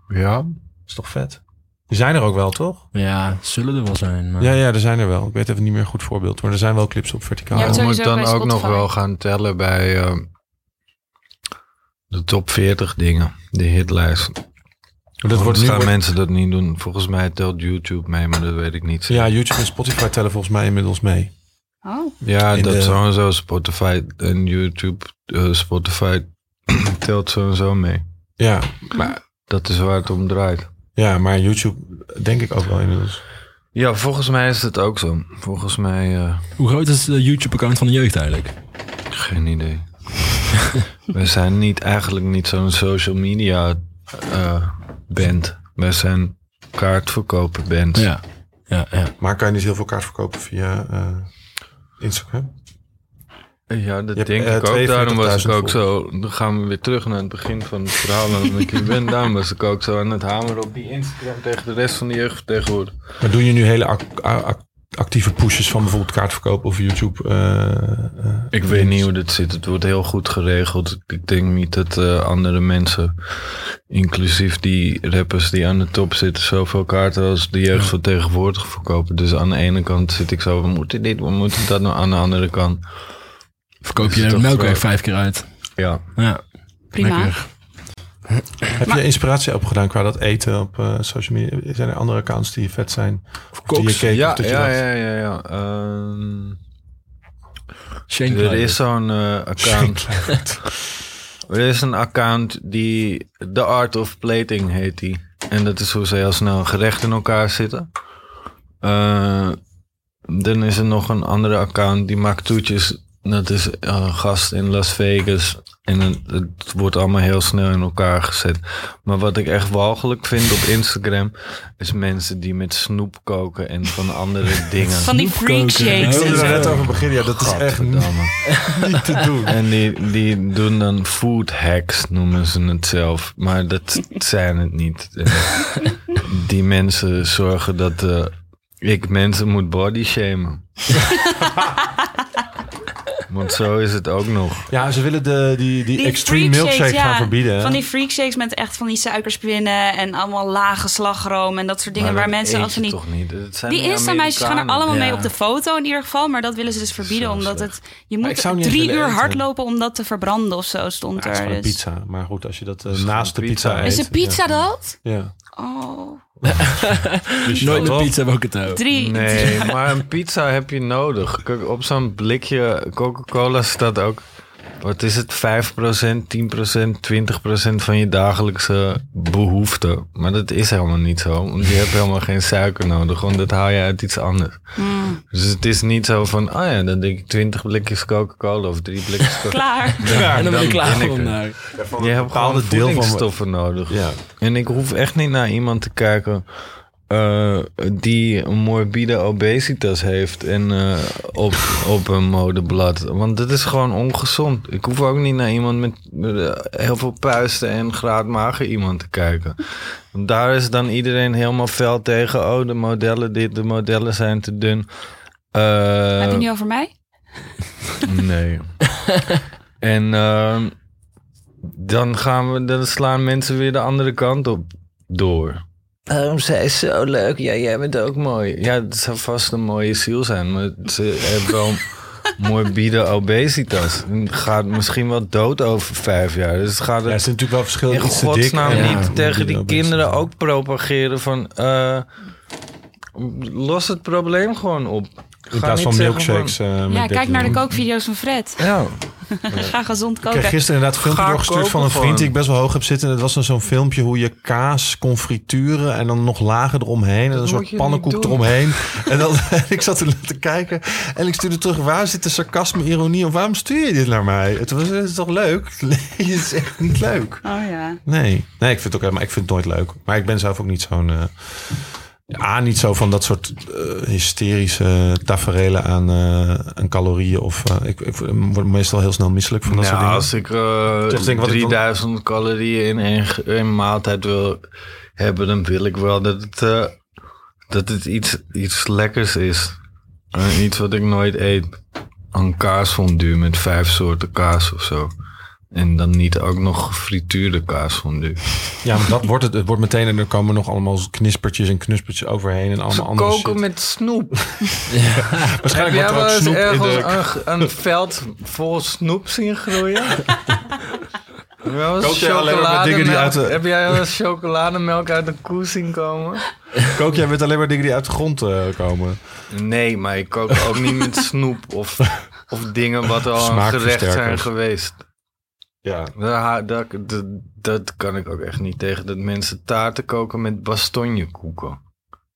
Ja.
is toch vet? Die zijn er ook wel, toch?
Ja, zullen er wel zijn. Maar...
Ja, ja, er zijn er wel. Ik weet even niet meer een goed voorbeeld. Maar er zijn wel clips op verticaal.
Ja,
Maar
het
we
sowieso
moeten dan
bij
ook nog
Spotify.
wel gaan tellen bij eh, de top 40 dingen. De hitlijst.
dat wordt
Waarom
nu...
gaan
wordt-
mensen dat niet doen? Volgens mij telt YouTube mee, maar dat weet ik niet.
Ja, YouTube en Spotify tellen volgens mij inmiddels mee.
Oh,
Ja,
In
dat
de-
sowieso Spotify en YouTube. eh, Spotify telt sowieso mee.
Ja,
Dat is waar het om draait.
ja, maar YouTube denk ik ook wel inmiddels.
Ja, volgens mij is dat ook zo. Volgens mij, eh,
Hoe groot is de YouTube-account van de jeugd eigenlijk?
geen idee. We zijn niet, eigenlijk niet zo'n social media eh, band. Wij zijn kaartverkoper band.
Ja. Ja, ja.
Maar kan je niet heel veel kaart verkopen via eh, Instagram?
Ja, dat
Je hebt,
denk
eh,
ik ook. Daarom was ik
42.000
ook zo. Dan gaan we weer terug naar het begin van het verhaal. waarom ik hier ben. Daarom was ik ook zo aan het hameren op die Instagram tegen de rest van de jeugd tegenwoordig.
Maar doe je nu hele ac- a- ac- actieve pushes van bijvoorbeeld kaartverkoop of YouTube? eh, eh,
Ik weet niet hoe dit zit. Het wordt heel goed geregeld. Ik denk niet dat eh, andere mensen, inclusief die rappers die aan de top zitten, zoveel kaarten als de jeugd van tegenwoordig verkopen. Dus aan de ene kant zit ik zo, we moeten dit, we moeten dat. Nou, aan de andere kant,
Verkoop
Is het
je
toch
melkweg
groot?
vijf keer uit.
ja.
Ja,
prima.
lekker.
heb je inspiratie opgedaan qua dat eten op eh, social media? Zijn er andere accounts die vet zijn? Of die je keek?
Ja,
of dat je
ja,
dacht,
ja, ja, ja. Ehm,
Shane
er
Klein.
is zo'n eh, account. Er is een account die The Art of Plating heet die. En dat is hoe ze heel snel een gerecht in elkaar zitten. Eh, dan is er nog een andere account die maakt toetjes. Dat is eh, een gast in Las Vegas. En het, het wordt allemaal heel snel in elkaar gezet. Maar wat ik echt walgelijk vind op Instagram... is mensen die met snoep koken en van andere dingen.
Van die freak
Snoepkoken.
Ik
shakes
wilde
en
er
zo.
net over beginnen. Ja, dat is echt niet
Gadverdamme.
te doen.
En die, die doen dan food hacks, noemen ze het zelf. Maar dat zijn het niet. Eh, Die mensen zorgen dat eh, ik mensen moet bodyshamen. Want zo is het ook nog.
Ja, ze willen de, die, die,
Die
extreme
freak
milkshake
shakes,
gaan
ja.
verbieden. hè?
Van die freak shakes met echt van die suikerspinnen en allemaal lage slagroom en dat soort dingen
Maar
waar
dat
mensen
eet
als ze
je
niet...
Toch niet. Dat zijn
Die Insta-meisjes gaan er
Amerikanen.
allemaal mee
Ja.
op de foto in ieder geval, maar dat willen ze dus verbieden
Zo
omdat
slecht.
het... Je
Maar
moet
ik zou niet
drie
eens willen
uur
eten.
hardlopen om dat te verbranden of zo stond
Ja, het is
er.
gewoon een
dus.
pizza. Maar goed, als je dat eh,
is gewoon
naast de
pizza.
pizza, eet.
Is een pizza dat?
Ja. Ja.
Oh.
Dus je
Nooit
wel-
met pizza heb ik het ook.
Drie.
Nee, maar een pizza heb je nodig. Kijk, op zo'n blikje Coca-Cola staat ook... Wat is het? 5%, 10%, 20% van je dagelijkse behoeften. Maar dat is helemaal niet zo. Want je hebt helemaal geen suiker nodig. Want dat haal je uit iets anders.
Hmm.
Mm,
Dus het is niet zo van... Ah ja, dan denk ik 20 blikjes Coca-Cola of 3 blikjes Coca-Cola.
klaar.
en dan ben ik klaar eh,
ben ik
voor
er.
vandaag.
Je hebt
bepaalde
gewoon
deel van-
voedingsstoffen nodig.
Ja.
En ik hoef echt niet naar iemand te kijken eh, die een morbide obesitas heeft en eh, op, op een modeblad. Want dit is gewoon ongezond. Ik hoef ook niet naar iemand met eh, heel veel puisten en graadmager iemand te kijken. Want daar is dan iedereen helemaal fel tegen. Oh, de modellen dit, de modellen zijn te dun. Eh,
Heb je het nu over mij?
Nee. en ehm, dan, gaan we, dan slaan mensen weer de andere kant op door. Waarom zij is zo leuk. Ja, jij bent ook mooi. Ja, het zou vast een mooie ziel zijn, maar ze heeft wel morbide obesitas. En Gaat misschien wel dood over vijf jaar. Dus gaat
Ja, er
het
is natuurlijk wel verschil
in
iets te dik.
godsnaam
en-
niet
Ja.
tegen die
obesitas.
kinderen ook propageren van... eh, los het probleem gewoon op.
In
Ga
plaats
niet
van
zeggen
milkshakes. eh, met
Ja,
dit
kijk naar de
ding.
kookvideo's van Fred.
Ja,
Ga gezond
Ik kreeg
koken.
gisteren inderdaad een filmpje
Ga
doorgestuurd van
koken
een vriend die
gewoon.
ik best wel hoog heb zitten. Dat was dan zo'n filmpje hoe je kaas confituren en dan nog lagen eromheen. En een
moet
soort
je
pannenkoek
niet doen.
eromheen. En dan, ik zat er te kijken en ik stuurde terug, waar zit de sarcasme, ironie? Of waarom stuur je dit naar mij? Het was het is toch leuk? Nee, het is echt niet leuk.
Oh ja.
Nee, nee ik, vind het ook, helemaal- ik vind het nooit leuk. Maar ik ben zelf ook niet zo'n... eh, A, niet zo van dat soort eh, hysterische taferelen aan, eh, aan calorieën. Of, eh, ik, ik word meestal heel snel misselijk van dat soort
Nou,
dingen.
als ik eh,
Toch denk ik wat ik dan-
3000 calorieën in één, ge- één maaltijd wil hebben, dan wil ik wel dat het, eh, dat het iets, iets lekkers is. Eh, iets wat ik nooit eet. Een kaasfondue met vijf soorten kaas of zo. En dan niet ook nog gefrituurde kaasfondue.
Ja, maar dat wordt het. Het wordt meteen en er komen nog allemaal knispertjes en knuspertjes overheen en allemaal
Ze
andere
koken
shit.
met snoep. Heb
Waarschijnlijk
jij
wordt er
wel
ook
eens
snoep in
ergens
de...
een, een veld vol snoep zien groeien? Wel eens
Kook jij alleen maar met dingen die
chocolademelk-
uit de-
Heb jij wel eens chocolademelk uit de koe zien komen?
Kook jij met alleen maar dingen die uit de grond eh, komen.
Nee, maar ik kook ook niet met snoep of, of dingen wat al een gerecht zijn
Smaakversterkers.
geweest.
Ja.
Daar ha- daar- Dat, dat kan ik ook echt niet tegen. Dat mensen taarten koken met bastonjekoeken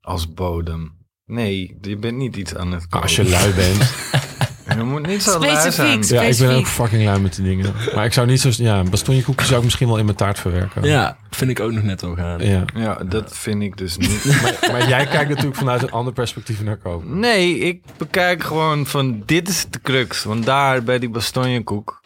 als bodem. Nee, je bent niet iets aan het koken.
Als je lui bent.
Je moet niet zo lui zijn.
Specifiek.
ja, ik ben
Specifiek.
ook fucking lui met die dingen. Maar ik zou niet zo... Ja, bastonjekoekjes zou ik misschien wel in mijn taart verwerken.
Ja, vind ik ook nog net al gaan.
Oh. Ja.
Ja, dat vind ik dus niet.
Maar, maar jij kijkt natuurlijk vanuit een ander perspectief naar koken.
Nee, ik bekijk gewoon van dit is de crux. Want daar bij die bastonjekoek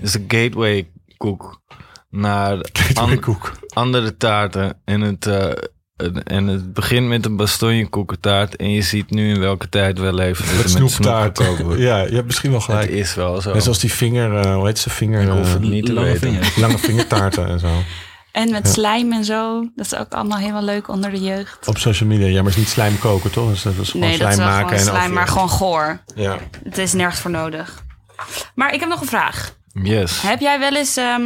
is de gateway koek naar an-
koek.
andere taarten. En het, eh, en- en het begint met een bastonjekoekentaart. En je ziet nu in welke tijd we leven. dat er
Met snoeptaart.
snoep gekookt wordt.
Ja, je hebt misschien wel
Het
gelijk.
is wel zo.
Net zoals die vinger... eh, hoe heet ze? Vinger...
Ik hoef
eh,
het niet te
Lange
weten.
vinger.
lange vingertaarten en zo.
En met slijm en zo. Dat is ook allemaal helemaal leuk onder de jeugd.
Op social media. Ja, maar het is niet slijm koken, toch? Dus dat is gewoon
Nee,
slijm
dat is wel
maken.
gewoon
en
slijm,
af-
maar gewoon goor.
Ja.
Het is nergens voor nodig. Maar ik heb nog een vraag.
Yes.
Heb jij wel eens ehm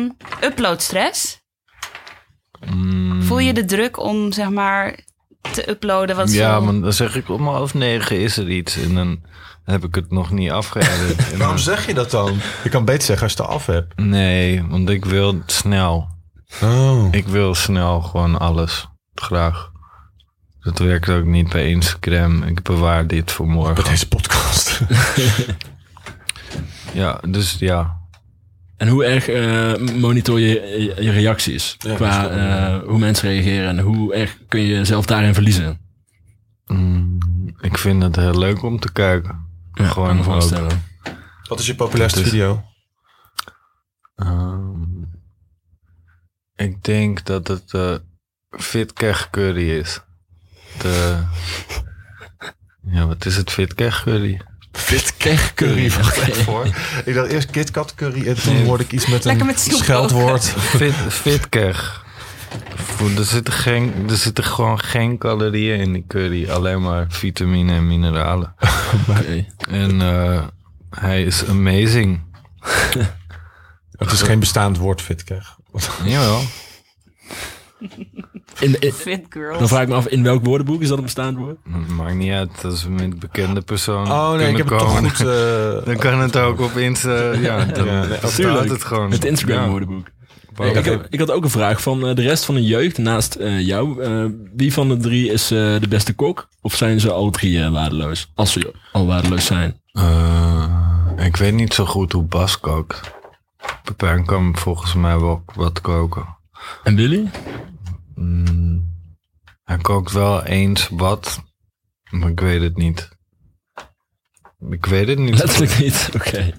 uploadstress?
Mm.
Voel je de druk om zeg maar te uploaden? Wat
Ja,
veel-
maar dan zeg ik om half negen is er iets. En dan heb ik het nog niet afgeëdit. En dan-
Waarom zeg je dat dan? Je kan beter zeggen als je het af hebt.
Nee, want ik wil snel.
Oh.
Ik wil snel gewoon alles. Graag. Dat werkt ook niet bij Instagram. Ik bewaar dit voor
Met
morgen.
deze podcast.
Ja, dus ja.
En hoe erg eh, monitor je je, je reacties?
Ja,
qua
dat is wel, ja.
eh, hoe mensen reageren en hoe erg kun je jezelf daarin verliezen?
Mm, ik vind het heel leuk om te kijken.
Ja,
Gewoon
kan me
ook.
voorstellen.
Wat is je populairste
Dat is-
video?
Ehm, ik denk dat het eh Fit Keg Curry is. De, ja, wat is het Fit Keg Curry?
Fit Keg Curry. wacht
Oké.
even voor. Ik dacht eerst Kit Kat Curry. En toen
Nee.
hoorde ik iets met
Lekker
een
met snoep
scheldwoord.
Fit, fit Keg. Voor- Er zitten, geen, er zitten gewoon geen calorieën in die curry. Alleen maar vitamine en mineralen.
Oké.
En eh, hij is amazing.
Het is geen bestaand woord, Fit Keg.
Jawel.
In- in-
Fit girls.
Dan vraag ik me af, in welk woordenboek is dat een bestaand woord?
Maakt niet uit als we met bekende personen
Oh nee, ik
kunnen
heb het toch
komen.
goed... eh,
Dan kan het ook op Insta. Ja, dan
Ja,
dan staat
tuurlijk.
het gewoon.
Het Instagram
Ja.
woordenboek.
Waarom-
Ik, heb- ik had ook een vraag van eh, de rest van de jeugd naast eh, jou. Eh, wie van de drie is eh, de beste kok? Of zijn ze alle drie eh, waardeloos? Als ze al waardeloos zijn.
Eh, ik weet niet zo goed hoe Bas kookt. Pepijn kan volgens mij wel wat koken.
En Willy?
Mm, Hij kookt wel eens wat, maar ik weet het niet. Ik weet het niet.
Letterlijk niet. Oké.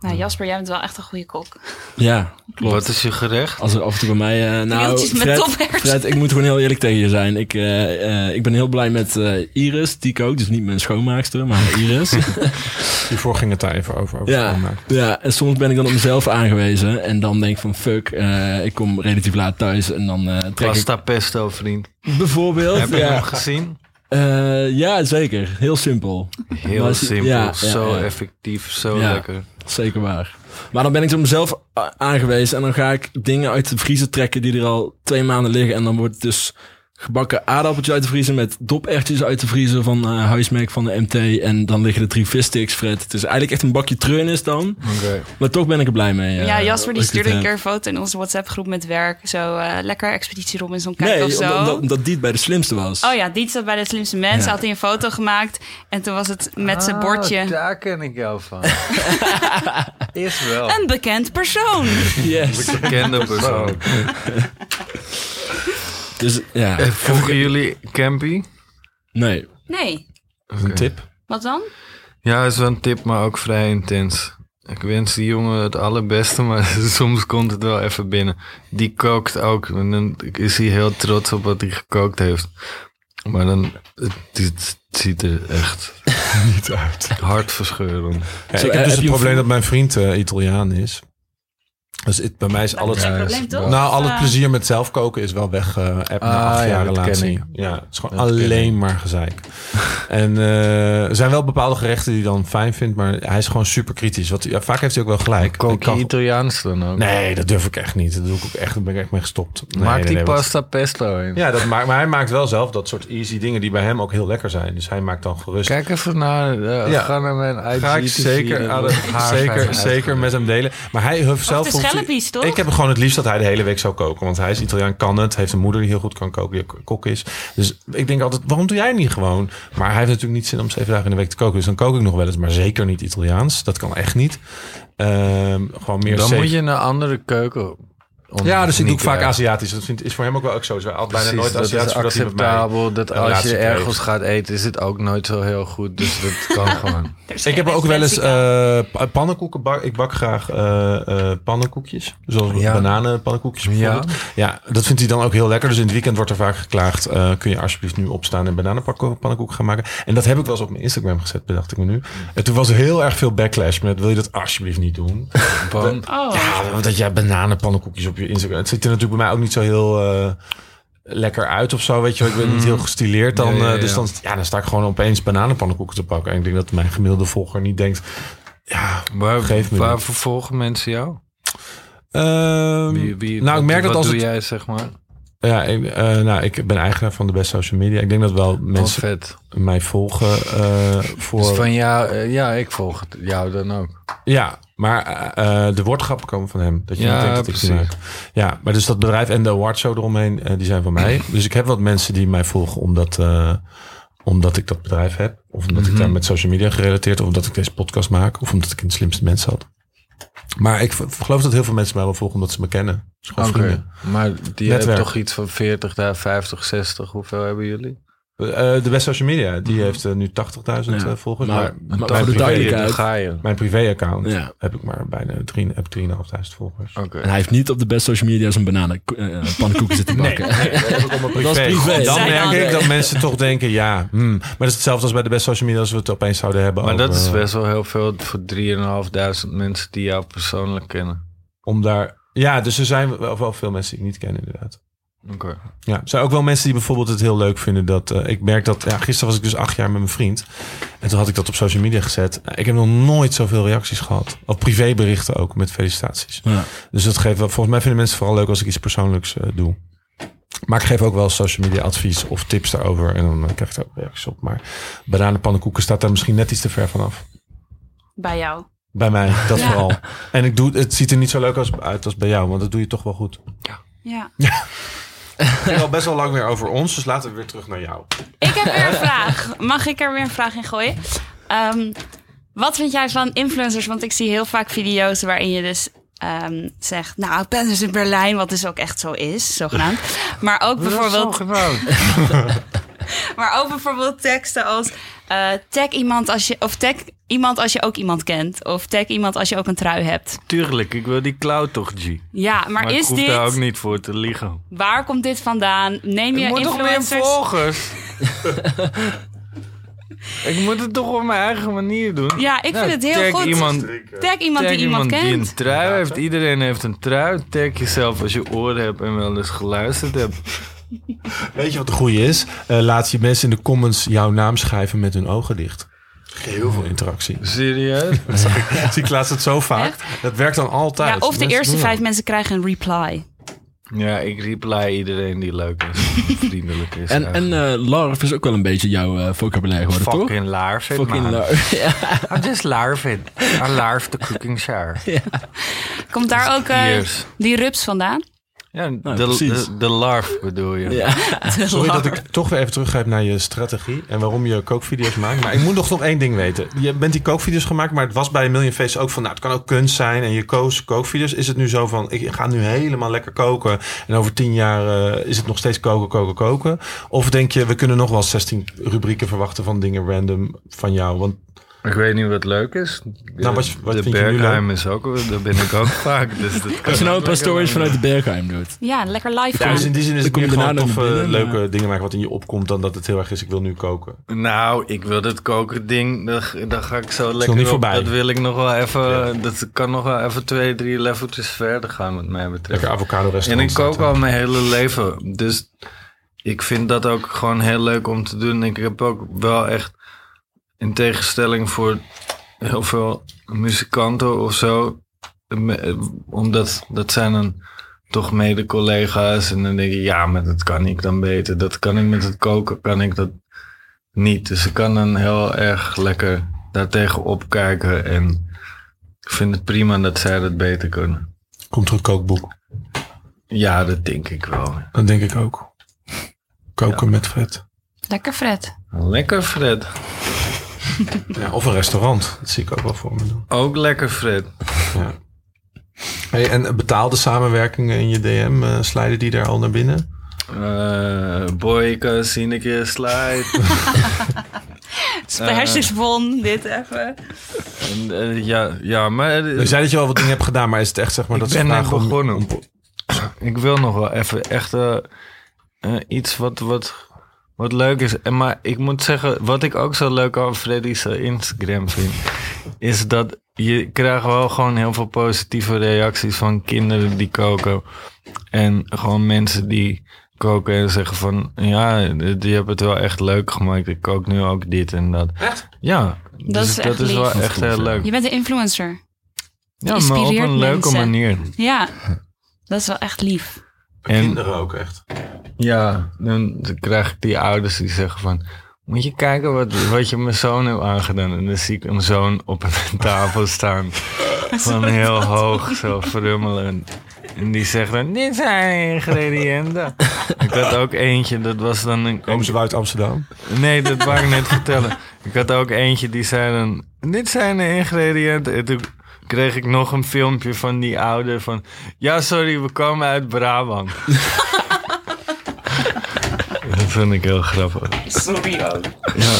Nou, Jasper, jij bent wel echt een goede kok.
Ja, klopt.
Wat is je gerecht?
Als er af en toe bij mij... eh, nou,
Deeltjes met
Fred,
toppers.
Fred, ik moet gewoon heel eerlijk tegen je zijn. Ik, eh, eh, ik ben heel blij met eh, Iris, die kookt. Dus niet mijn schoonmaakster, maar Iris.
Hiervoor ging het daar even over. over
Ja,
schoonmaak.
ja, en soms ben ik dan op mezelf aangewezen. En dan denk ik van fuck, eh, ik kom relatief laat thuis. En dan eh, trek ik
Pasta pesto, vriend.
bijvoorbeeld.
Heb je
ja.
hem gezien?
Eh, ja, zeker. Heel simpel.
Heel
Maar als je-
simpel,
ja, ja,
zo
ja.
effectief, zo
Ja.
lekker.
Zeker waar. Maar dan ben ik op mezelf a- aangewezen. En dan ga ik dingen uit de vriezer trekken die er al twee maanden liggen. En dan wordt het dus gebakken aardappeltje uit de vriezer met dopertjes uit de vriezer van eh, huismerk van de MT. En dan liggen er drie vissticks, Fred. Het is eigenlijk echt een bakje treun is dan.
Oké.
Maar toch ben ik er blij mee.
Ja, Jasper
eh,
die
dat ik dit
stuurde een
heb.
keer een foto in onze WhatsApp-groep met werk. Zo eh, lekker Expeditie Robinson kijken
Nee,
of zo.
omdat, omdat, omdat die het bij de slimste was.
Oh ja, Diet zat bij de slimste mensen.
Ja.
Had hij een foto gemaakt. En toen was het met zijn
Ah,
bordje.
Daar ken ik jou van. is wel.
Een bekend persoon.
Yes.
Bekende persoon.
Dus ja,
Eh, Volgen jullie Campy?
nee.
Nee.
Dat is een tip.
Wat dan?
Ja, is wel een tip, maar ook vrij intens. Ik wens die jongen het allerbeste, maar soms komt het wel even binnen. Die kookt ook en dan is hij heel trots op wat hij gekookt heeft. Maar dan, het, het ziet er echt
Niet uit.
hartverscheurend.
Ja,
Zo,
ik
eh,
heb dus
heb
het
je een
probleem
vri-
dat mijn vriend eh, Italiaan is. Dus het, bij mij is al het,
Ja,
probleem toch?
nou, al
Of,
het
eh,
plezier met zelf koken is wel weg eh app na
Ah,
acht
ja,
jaar
dat ken
relatie.
ik.
Ja, het is gewoon
Dat ken
alleen maar gezeik. en eh, er zijn wel bepaalde gerechten die hij dan fijn vindt, maar hij is gewoon super kritisch. Wat, ja, vaak heeft hij ook wel gelijk. Ik
Kook je
kan-
Italiaans dan ook?
nee, dat durf ik echt niet. Dat doe ik ook echt. Daar ben ik echt mee gestopt. Nee,
Maak
nee,
die
nee, wat-
pasta pesto in.
Ja, dat maakt, maar hij maakt wel zelf dat soort easy dingen die bij hem ook heel lekker zijn. Dus hij maakt dan gerust.
Kijk even naar, eh,
Ja.
ga naar mijn IGTV.
Ga ik zeker, aan het- zeker, zeker met hem delen. Maar hij heeft zelf...
de
vond hij-
schelpjes, toch?
Ik heb gewoon het liefst dat hij de hele week zou koken. Want hij is Italiaan, kan het. Heeft een moeder die heel goed kan koken, die ook kok is. Dus ik denk altijd, waarom doe jij niet gewoon? Maar hij heeft natuurlijk niet zin om zeven dagen in de week te koken. Dus dan kook ik nog wel eens, maar zeker niet Italiaans. Dat kan echt niet. Ehm, gewoon meer
Dan
safe.
moet je naar andere keuken.
Ja, dus ik doe ook vaak
Azië.
Aziatisch. Dat vindt, is voor hem ook wel exotisch. Hij had bijna
Precies,
nooit
dat is
Aziatisch. voordat hij met mij-
acceptabel. Dat
een
als
relatie
je
kreeg.
ergens gaat eten, is het ook nooit zo heel goed. Dus dat kan gewoon.
Er is
Ik
geen
heb ook wel eens
referentie.
eh, pa- pannenkoeken bak. Ik bak graag eh, eh, pannenkoekjes. Zoals
Ja.
bananenpannenkoekjes bijvoorbeeld. Ja. dat vindt hij dan ook heel lekker. Dus in het weekend wordt er vaak geklaagd. eh, kun je alsjeblieft nu opstaan en bananenpannenkoeken gaan maken. En dat heb ik wel eens op mijn Instagram gezet, bedacht ik me nu. En toen was er heel erg veel backlash met wil je dat alsjeblieft niet doen.
Bam.
eh,
Oh.
Ja, want dat jij bananenpannenkoekjes op je Instagram. Het ziet er natuurlijk bij mij ook niet zo heel eh, lekker uit of zo. Weet je, wel. ik ben niet heel gestileerd dan.
Ja, ja,
eh, dus
ja.
dan, ja, dan sta ik gewoon opeens bananenpannenkoeken te pakken. En ik denk dat mijn gemiddelde volger niet denkt. Ja,
Waar,
Geef me
waar
dit.
vervolgen mensen jou?
ehm,
Wie, wie,
nou, ik
wat-
merk dat
wat
als
doe
het,
jij, zeg maar?
ja, ik, eh, nou, ik ben eigenaar van de best social media. Ik denk dat wel
Wat
mensen
vet.
mij volgen eh, voor.
Dus van jou, eh, ja, ik volg het- jou dan ook.
Ja, maar eh, eh, de woordgrappen komen van hem. Dat je
Ja,
niet denkt dat ik ze
precies.
maak. Ja, maar dus dat bedrijf en de awardshow eromheen, eh, die zijn van mij. Dus ik heb wat mensen die mij volgen omdat, eh, omdat ik dat bedrijf heb. Of omdat
Mhm.
ik daar met social media gerelateerd... of omdat ik deze podcast maak. Of omdat ik in de slimste mensen had. Maar ik v- geloof dat heel veel mensen mij wel volgen omdat ze me kennen. Het is
Oké.
gewoon vrienden.
Maar die hebben
Netwerk.
toch iets van 40, daar 50, 60. Hoeveel hebben jullie?
Eh, de best social media, die heeft eh, nu 80.000
Mhm. Ja,
eh, volgers.
maar-
Maar, mijn
maar voor de
privé-
duidelijkheid-
Daar ga je.
Mijn privé-account
Ja.
heb ik maar bijna drie- heb 3.500 volgers.
Oké.
En hij heeft niet op de best social media zijn bananen eh, pannenkoeken zitten bakken. Dat is privé.
Dan
Zij
merk
dan.
ik dat mensen toch denken, ja, hmm. maar dat is hetzelfde als bij de best social media als we het opeens zouden hebben.
Maar dat
over,
Oh,
is
eh,
best wel heel veel voor 3.500 mensen die jou persoonlijk kennen.
om daar. Ja, dus er zijn wel, wel veel mensen die ik niet ken, inderdaad.
Oké.
Ja, er zijn ook wel mensen die bijvoorbeeld het heel leuk vinden dat. eh, ik merk dat. Ja, gisteren was ik dus acht jaar met mijn vriend. En toen had ik dat op social media gezet. Nou, Ik heb nog nooit zoveel reacties gehad. Of privéberichten ook met felicitaties.
Ja.
Dus dat geeft wel. Volgens mij vinden mensen vooral leuk als ik iets persoonlijks eh, doe. Maar ik geef ook wel social media advies of tips daarover. En dan eh, krijg ik daar ook reacties op. Maar bananenpannenkoeken staat daar misschien net iets te ver vanaf.
Bij jou.
Bij mij, dat
Ja.
vooral. En ik doe, het ziet er niet zo leuk als, uit als bij jou, want dat doe je toch wel goed.
Ja.
Het ging al best wel lang weer over ons, dus laten we weer terug naar jou.
Ik heb weer een vraag. Mag ik er weer een vraag in gooien? Ehm, wat vind jij van influencers? Want ik zie heel vaak video's waarin je dus ehm, zegt, nou, ik ben dus in Berlijn, wat dus ook echt zo is, zogenaamd. Maar ook bijvoorbeeld maar ook bijvoorbeeld teksten als eh, tag iemand als je of tag iemand als je ook iemand kent of tag iemand als je ook een trui hebt.
Tuurlijk, ik wil die cloud toch, G. Maar,
Ja, maar,
ik
is
hoef daar ook
dit
niet voor te liegen.
waar komt dit vandaan? Neem je
ik moet toch meer
influencers?
volgers? ik moet het toch op mijn eigen manier doen.
Ja, ik vind het heel
tag
goed.
Iemand,
Tag iemand
tag
die iemand,
die
kent.
een trui heeft. Iedereen heeft een trui. Tag jezelf als je oren hebt en wel eens geluisterd hebt.
Weet je wat de goeie is? Eh, laat die mensen in de comments jouw naam schrijven met hun ogen dicht. Heel veel interactie.
Serieus?
Zie ik laatst het zo vaak. Dat werkt dan altijd.
Ja, of de
Mensen Mm.
eerste
doen
vijf
dat.
mensen krijgen een reply.
ja, ik reply iedereen die leuk is. en Vriendelijk is.
En, en eh, larf is ook wel een beetje jouw eh, vocabulaire geworden, toch?
Fucking larve.
Fucking
man.
larf. Ja.
I'm just larving. I larve the Ah, cooking shower.
Komt daar ook eh,
Years.
die rups vandaan?
Ja,
Nou,
de,
precies.
de, de larf bedoel je.
Ja.
Sorry dat ik toch weer even teruggrijp naar je strategie en waarom je kookvideo's maakt. Maar ik moet nog toch één ding weten. Je bent die kookvideo's gemaakt, maar het was bij een Million Faces ook van, nou, het kan ook kunst zijn. En je koos kookvideo's. Is het nu zo van, ik ga nu helemaal lekker koken en over tien jaar eh, is het nog steeds koken, koken, koken? Of denk je, we kunnen nog wel 16 rubrieken verwachten van dingen random van jou? Want
Ik weet niet wat leuk is.
Nou, wat- wat
de
vind je nu
Bergheim is ook, daar ben ik ook vaak. Dus dat kan
Als je nou een paar
ook
stories vanuit
lekker
de Bergheim doet.
Ja, lekker live
ja,
gaan.
dus in die zin is het
kom je
meer gewoon
daarna
toffe,
nog binnen,
leuke
maar-
dingen maken wat in je opkomt, dan dat het heel erg is, ik wil nu koken.
doen. Nou, ik wil dat koken ding, daar, daar ga ik zo lekker
niet
op.
voorbij.
Dat wil ik nog wel even, dat kan nog wel even twee, drie leveltjes verder gaan wat mij betreft.
Lekker avocado
En ik
restaurant.
kook al mijn hele leven. Dus ik vind dat ook gewoon heel leuk om te doen. Ik heb ook wel echt, in tegenstelling voor heel veel muzikanten of zo, me- omdat dat zijn dan toch mede collega's. En dan denk je, ja, maar dat kan ik dan beter. Dat kan ik met het koken, kan ik dat niet. Dus ik kan dan heel erg lekker daartegen opkijken. En ik vind het prima dat zij dat beter kunnen.
Komt er een kookboek?
Ja, dat denk ik wel.
Dat denk ik ook. Koken met vet.
Lekker Fred.
Eh. Lekker Fred.
Ja, of een restaurant. Dat zie ik ook wel voor me doen.
Ook lekker Fred.
Ja. Hey, en betaalde samenwerkingen in je DM, eh slijden die daar al naar binnen?
Eh boyka, zie ik je slide.
Spersjes won, dit even.
En, eh, ja, ja, maar eh,
Je zei dat je al wat dingen hebt gedaan, maar is het echt zeg maar
Ik
dat
ben
ze
net
vragen om-
begonnen.
om-
ik wil nog wel even echt eh, eh, iets wat, wat, wat leuk is. En, maar ik moet zeggen, wat ik ook zo leuk aan Freddy's eh, Instagram vind, is dat je krijgt wel gewoon heel veel positieve reacties van kinderen die koken. En gewoon mensen die koken en zeggen van, ja, je hebt het wel echt leuk gemaakt. Ik kook nu ook dit en dat.
Echt?
Ja, dus
is
dat
echt
is wel
lief.
Dat is
echt
goed,
heel
ja.
leuk.
Je bent een influencer.
Ja, maar op
inspireert
een leuke
mensen.
manier.
Ja, dat is wel echt lief.
En
Kinderen ook echt.
ja, dan krijg ik die ouders die zeggen van... Moet je kijken wat, wat je mijn zoon hebt aangedaan. En dan zie ik mijn zoon op een tafel staan. Van heel hoog, zo verrummelend. En die zegt dan, dit zijn ingrediënten. ik had ook eentje, dat was dan een...
Komen ze wel uit Amsterdam?
Nee, dat wou ik net vertellen. Ik had ook eentje die zei dan... Dit zijn de ingrediënten. En toen kreeg ik nog een filmpje van die ouder van... Ja, sorry, we komen uit Brabant. dat vind ik heel grappig.
Sorry ook.
Ja.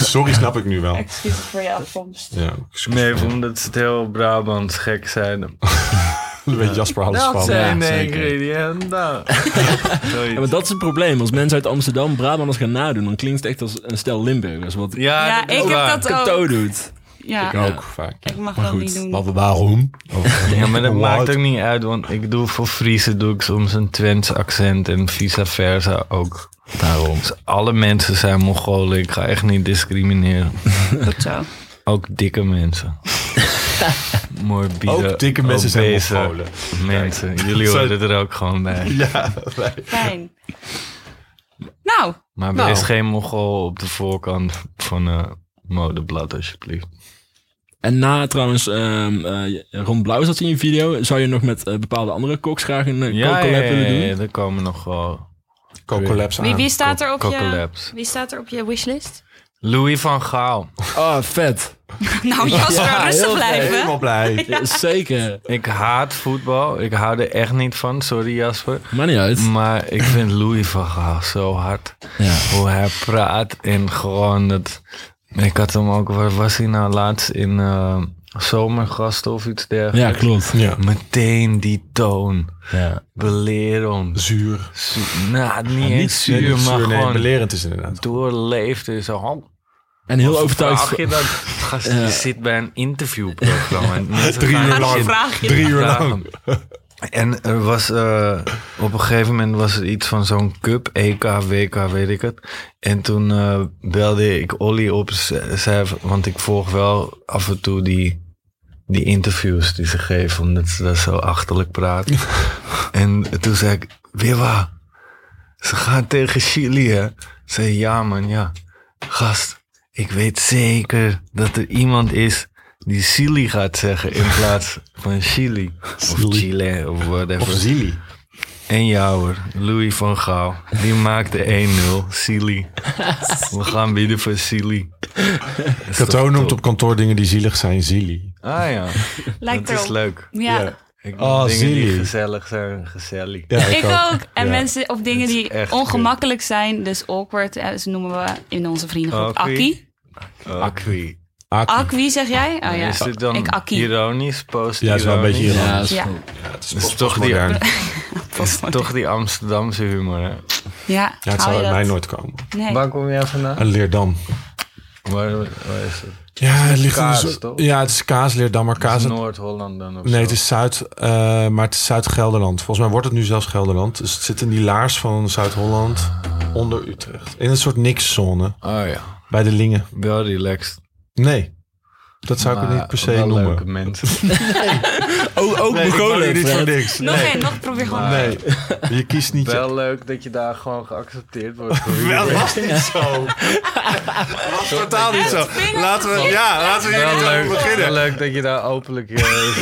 Sorry, snap ik nu wel.
Excuses voor je afkomst.
Ja,
Nee, omdat ze het heel Brabant gek zeiden.
een beetje Jasper Halles
Dat
van.
zijn eh, de
zeker.
ingrediënten.
Ja,
Zoiets.
maar dat is het probleem. Als mensen uit Amsterdam Brabanders gaan nadoen, dan klinkt het echt als een stel Limburgers. Wat
Ja,
Ja,
dat is
ik heb
waar.
dat
Kato
ook.
doet.
Ja,
Ja, ook vaak.
ik mag
Maar
dat
goed,
niet doen.
Maar waarom? Of-
Ja, maar dat
Wat?
maakt ook niet uit, want ik doe voor Friese doe ik soms een Twents accent en vice versa ook. Daarom. Dus alle mensen zijn Mongolen, ik ga echt niet discrimineren.
Goed zo.
Ook dikke mensen. Mooi bieden.
Ook dikke mensen zijn
obese
Mongolen.
Mensen, jullie
Zo-
horen er ook gewoon bij.
Ja, wij-
Fijn. Nou,
Maar er
Nou.
is geen Mongool op de voorkant van een modeblad, alsjeblieft.
En na trouwens ehm eh Ron Blauw zat in je video. Zou je nog met eh, bepaalde andere koks graag een uh,
Ja, ja,
collab
ja,
willen doen?
ja, er komen nog wel
Cocolabs aan.
wie, wie, staat er op je,
collabs.
wie staat er op je wishlist?
Louis van Gaal.
Ah, vet.
Nou, Jasper,
Ja,
rustig
heel
blijven.
Helemaal blij.
Ja, Zeker.
Ik haat voetbal. Ik hou er echt niet van. Sorry Jasper.
Maar niet uit.
Maar ik vind Louis van Gaal zo hard.
Ja.
Hoe hij praat en gewoon dat... Ik had hem ook... Waar was hij nou laatst in eh, zomergasten of iets
ja,
dergelijks?
klopt.
Ja.
Meteen die toon.
Ja.
Belerend.
Zuur.
Zu- nou, niet
Nee,
eens zuur,
niet
maar
nee,
gewoon
belerend is inderdaad.
doorleefd. En zo, oh,
En heel
Wat
overtuigd.
Vraag je dat? Gast,
Ja.
je zit bij een interviewprogramma. En mensen
Drie
gaan
uur
Maar
lang.
je
dan
zitten
vraag je.
Drie uur
Ja.
lang.
En er was eh, op een gegeven moment was er iets van zo'n cup, E EK, WK, weet ik het. En toen eh, belde ik Olly op, ze- zei, want ik volg wel af en toe die, die interviews die ze geven, omdat ze daar zo achterlijk praten. en toen zei ik, Wiwa, ze gaan tegen Chili, hè? Zei ja man, ja. Gast, ik weet zeker dat er iemand is die Chili gaat zeggen in plaats van Chili. Of Chile, of whatever.
Zili.
En ja hoor, Louis van Gaal. Die maakte 1-0. Silly. We gaan bieden voor Silly.
Kato noemt op kantoor dingen die zielig zijn, Zili.
Ah ja,
Lijkt
dat is
erop.
leuk.
Ja,
Ik noem
Oh,
dingen die
Silly.
gezellig zijn, gezellig.
Ja,
ik ook. En
Ja.
mensen op dingen
Het is
die
echt
ongemakkelijk zijn, dus awkward, eh, ze noemen we in onze vriendengroep
Akkie.
akkie.
Oh, Acqui.
Aki.
Akkie zeg jij? Oh ja,
Is dit dan eh,
ik akkie.
ironisch, post
Ja, is wel een beetje
ironisch?
ironisch.
Ja,
Ja.
is goed.
het is,
Dat is
toch
toch die-
Volgens mij.
Toch die Amsterdamse humor, hè?
Ja,
Ja, het
hou
zou
je
uit
dat?
mij nooit komen.
Nee.
Waar kom jij vandaan?
Een Leerdam.
Waar, waar is het?
Ja, het ligt in de
kaas,
zo-
toch?
Ja, het is kaas, Leerdam, maar
Is
kaas...
het Noord-Holland dan of
Nee,
zo?
het is Zuid, eh, maar het is Zuid-Gelderland. Volgens mij wordt het nu zelfs Gelderland. Dus het zit in die laars van Zuid-Holland onder Utrecht. In een soort nikszone,
Oh ja,
bij de Lingen.
wel relaxed.
Nee, dat zou ik het
maar
niet per se
wel
noemen.
leuke mensen.
Ook, ook
Nee, ik
begonnen,
wou hier niet
Fred.
voor niks.
Nog
Nee.
één, nog probeer gewoon.
Maar-
Nee, je kiest niet.
wel leuk dat je daar gewoon geaccepteerd wordt. door
Wel,
iedereen.
was niet zo. was totaal niet zo. Laten we, ja, laten we
Wel
hier niet
leuk,
over
wel
beginnen.
leuk dat je daar openlijk je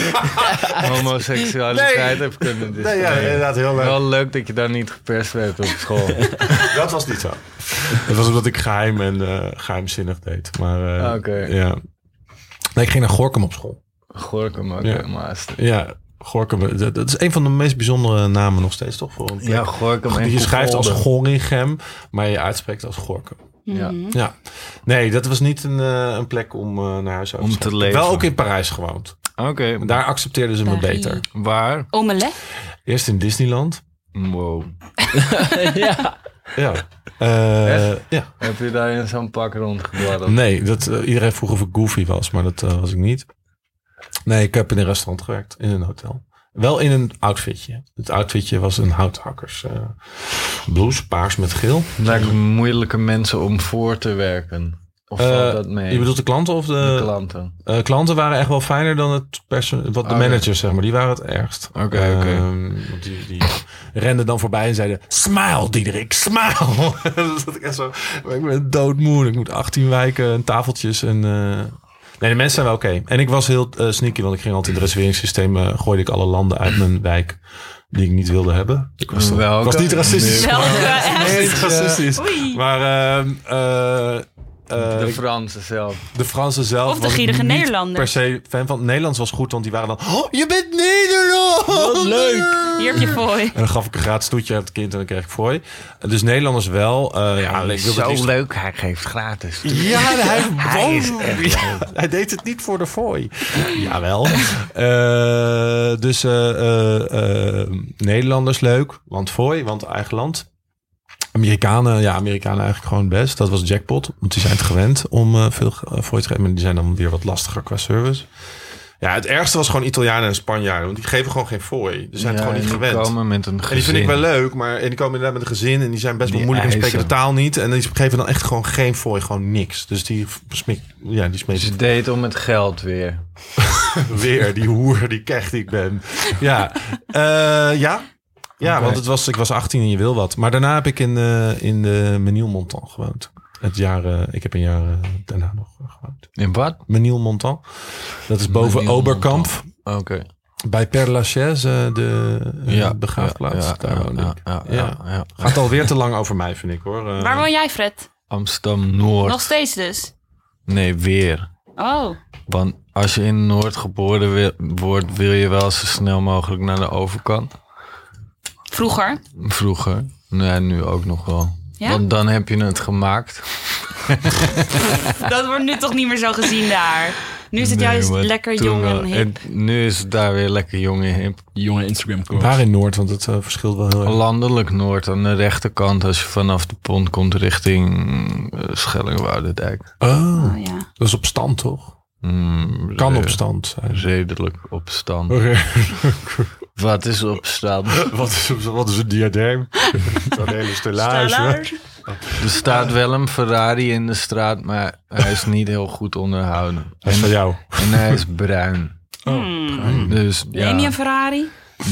homoseksualiteit
Nee.
hebt kunnen
Nee, ja,
discussiëren.
inderdaad, heel leuk.
Wel leuk dat je daar niet geperst werd op school.
Dat was niet zo. Het was omdat ik geheim en eh, geheimzinnig deed. Maar eh,
Ah, Oké.
ja. Nee, ik ging naar Gorkum op school.
Gorkum ook,
Ja.
ja. master.
Ja, Gorkum. eh, Dat, dat is een van de meest bijzondere namen nog steeds, toch? Voor een plek.
Ja, Gorkum en
Die je schrijft als
Koevolde.
Gorinchem, maar je uitspreekt als Gorkum.
Ja.
Mm. Mhm.
Ja. Nee, dat was niet een, eh, een plek om eh, naar huis uit
Om
stappen.
te leven.
Wel ook in Parijs gewoond.
Oké,
Daar accepteerden ze me
Parijs.
beter.
waar?
Omelet?
Eerst in Disneyland.
Wow.
ja.
Ja. Eh,
Echt?
ja.
Heb je daar in zo'n pak rondgebladderd?
Nee, dat, eh, iedereen vroeg of ik goofy was, maar dat eh, was ik niet. Nee, ik heb in een restaurant gewerkt, in een hotel. Wel in een outfitje. Het outfitje was een houthakkers eh, blouse, paars met geel.
Lijkt me moeilijke mensen om voor te werken. Of
Eh,
valt dat mee?
Je bedoelt de klanten of de,
de klanten?
Eh, klanten waren echt wel fijner dan het perso- wat de
Oké.
managers zeg maar. Die waren het ergst.
Oké,
Ehm,
oké.
want die, die renden dan voorbij en zeiden: Smile, Diederik, smile. dat zat ik echt zo. maar Ik ben doodmoe. Ik moet 18 wijken en tafeltjes en. eh, Nee, de mensen zijn wel oké. En ik was heel eh, sneaky, want ik ging altijd in het reserveringssysteem. eh, gooide ik alle landen uit mijn wijk die ik niet wilde hebben. Ik was, ik
Welke?
was niet racistisch.
Nee.
Zelfde, echt?
Nee, niet racistisch.
Oei.
Maar ehm, eh, eh,
De Fransen zelf.
de Fransen zelf.
Of de
was ik
gierige
niet
Nederlanders.
Per se fan van. Nederlands was goed, want die waren dan. "Oh, je bent Nederland!
Wat leuk!
Hier heb je fooi.
En dan gaf ik een gratis toetje aan het kind en dan kreeg ik fooi. Dus Nederlanders wel. eh, ja, ik wil het liefst-
leuk, hij geeft gratis.
Ja, hij,
Hij is
wou-
echt
Ja, hij deed het niet voor de fooi. Jawel. Eh, dus eh, eh, eh, Nederlanders leuk, want fooi, want eigen land. Amerikanen, ja, Amerikanen eigenlijk gewoon het best. Dat was jackpot, want die zijn het gewend om eh, veel eh, fooi te geven. Maar die zijn dan weer wat lastiger qua service. Ja, het ergste was gewoon Italianen en Spanjaarden, want die geven gewoon geen fooi. Die zijn het gewoon niet gewend.
komen met een
En die vind ik wel leuk, maar en die komen inderdaad met een gezin en die zijn best wel
Die
moeilijk en spreken de
eisen.
taal niet. En die geven dan echt gewoon geen fooi, gewoon niks. Dus die smik, ja, die smeet
Ze deed om het geld weer.
weer, die hoer, die kecht die ik ben. Ja, Eh, ja. ja
Oké.
want het was, ik was 18 en je wil wat. Maar daarna heb ik in, eh in de Menilmontant gewoond. Het jaar, eh, ik heb een jaar eh, daarna nog gewoond.
In wat?
Menilmontant, dat is boven
Menilmontant.
Oberkampf.
Oké.
Bij Père Lachaise, eh, de eh, begraafplaats.
Ja,
Daar
ja,
woonde
ja,
ik.
ja,
Ja.
ja, ja.
Gaat alweer te lang over mij, vind ik hoor. Eh,
Waar woon jij, Fred?
Amsterdam Noord.
Nog steeds dus.
Nee, weer.
Oh,
Want als je in Noord geboren wi- wordt, wil je wel zo snel mogelijk naar de overkant.
vroeger.
Vroeger. Nou ja, nu ook nog wel.
Ja?
Want dan heb je het gemaakt.
Dat wordt nu toch niet meer zo gezien daar. Nu is het
Nee,
juist
maar
lekker
toen
jong
wel.
en hip.
En nu is het daar weer lekker jong en hip.
Jonge instagram quotes.
Waar in Noord? Want het eh, verschilt wel heel erg.
Landelijk Noord aan de rechterkant, als je vanaf de pont komt richting eh, Schellingwoudendijk.
Oh,
Oh, ja.
Ah,
dat is op stand toch?
Mm,
Kan
re-
op stand zijn.
Redelijk op stand. Wat is op stand?
Wat is, wat is een diadeem? Een hele
Er staat wel een Ferrari in de straat, maar hij is niet heel goed onderhouden.
Dat is van
En,
jou.
en hij is bruin.
Oh.
Hmm.
Dus
Neem je een
ja,
Ferrari?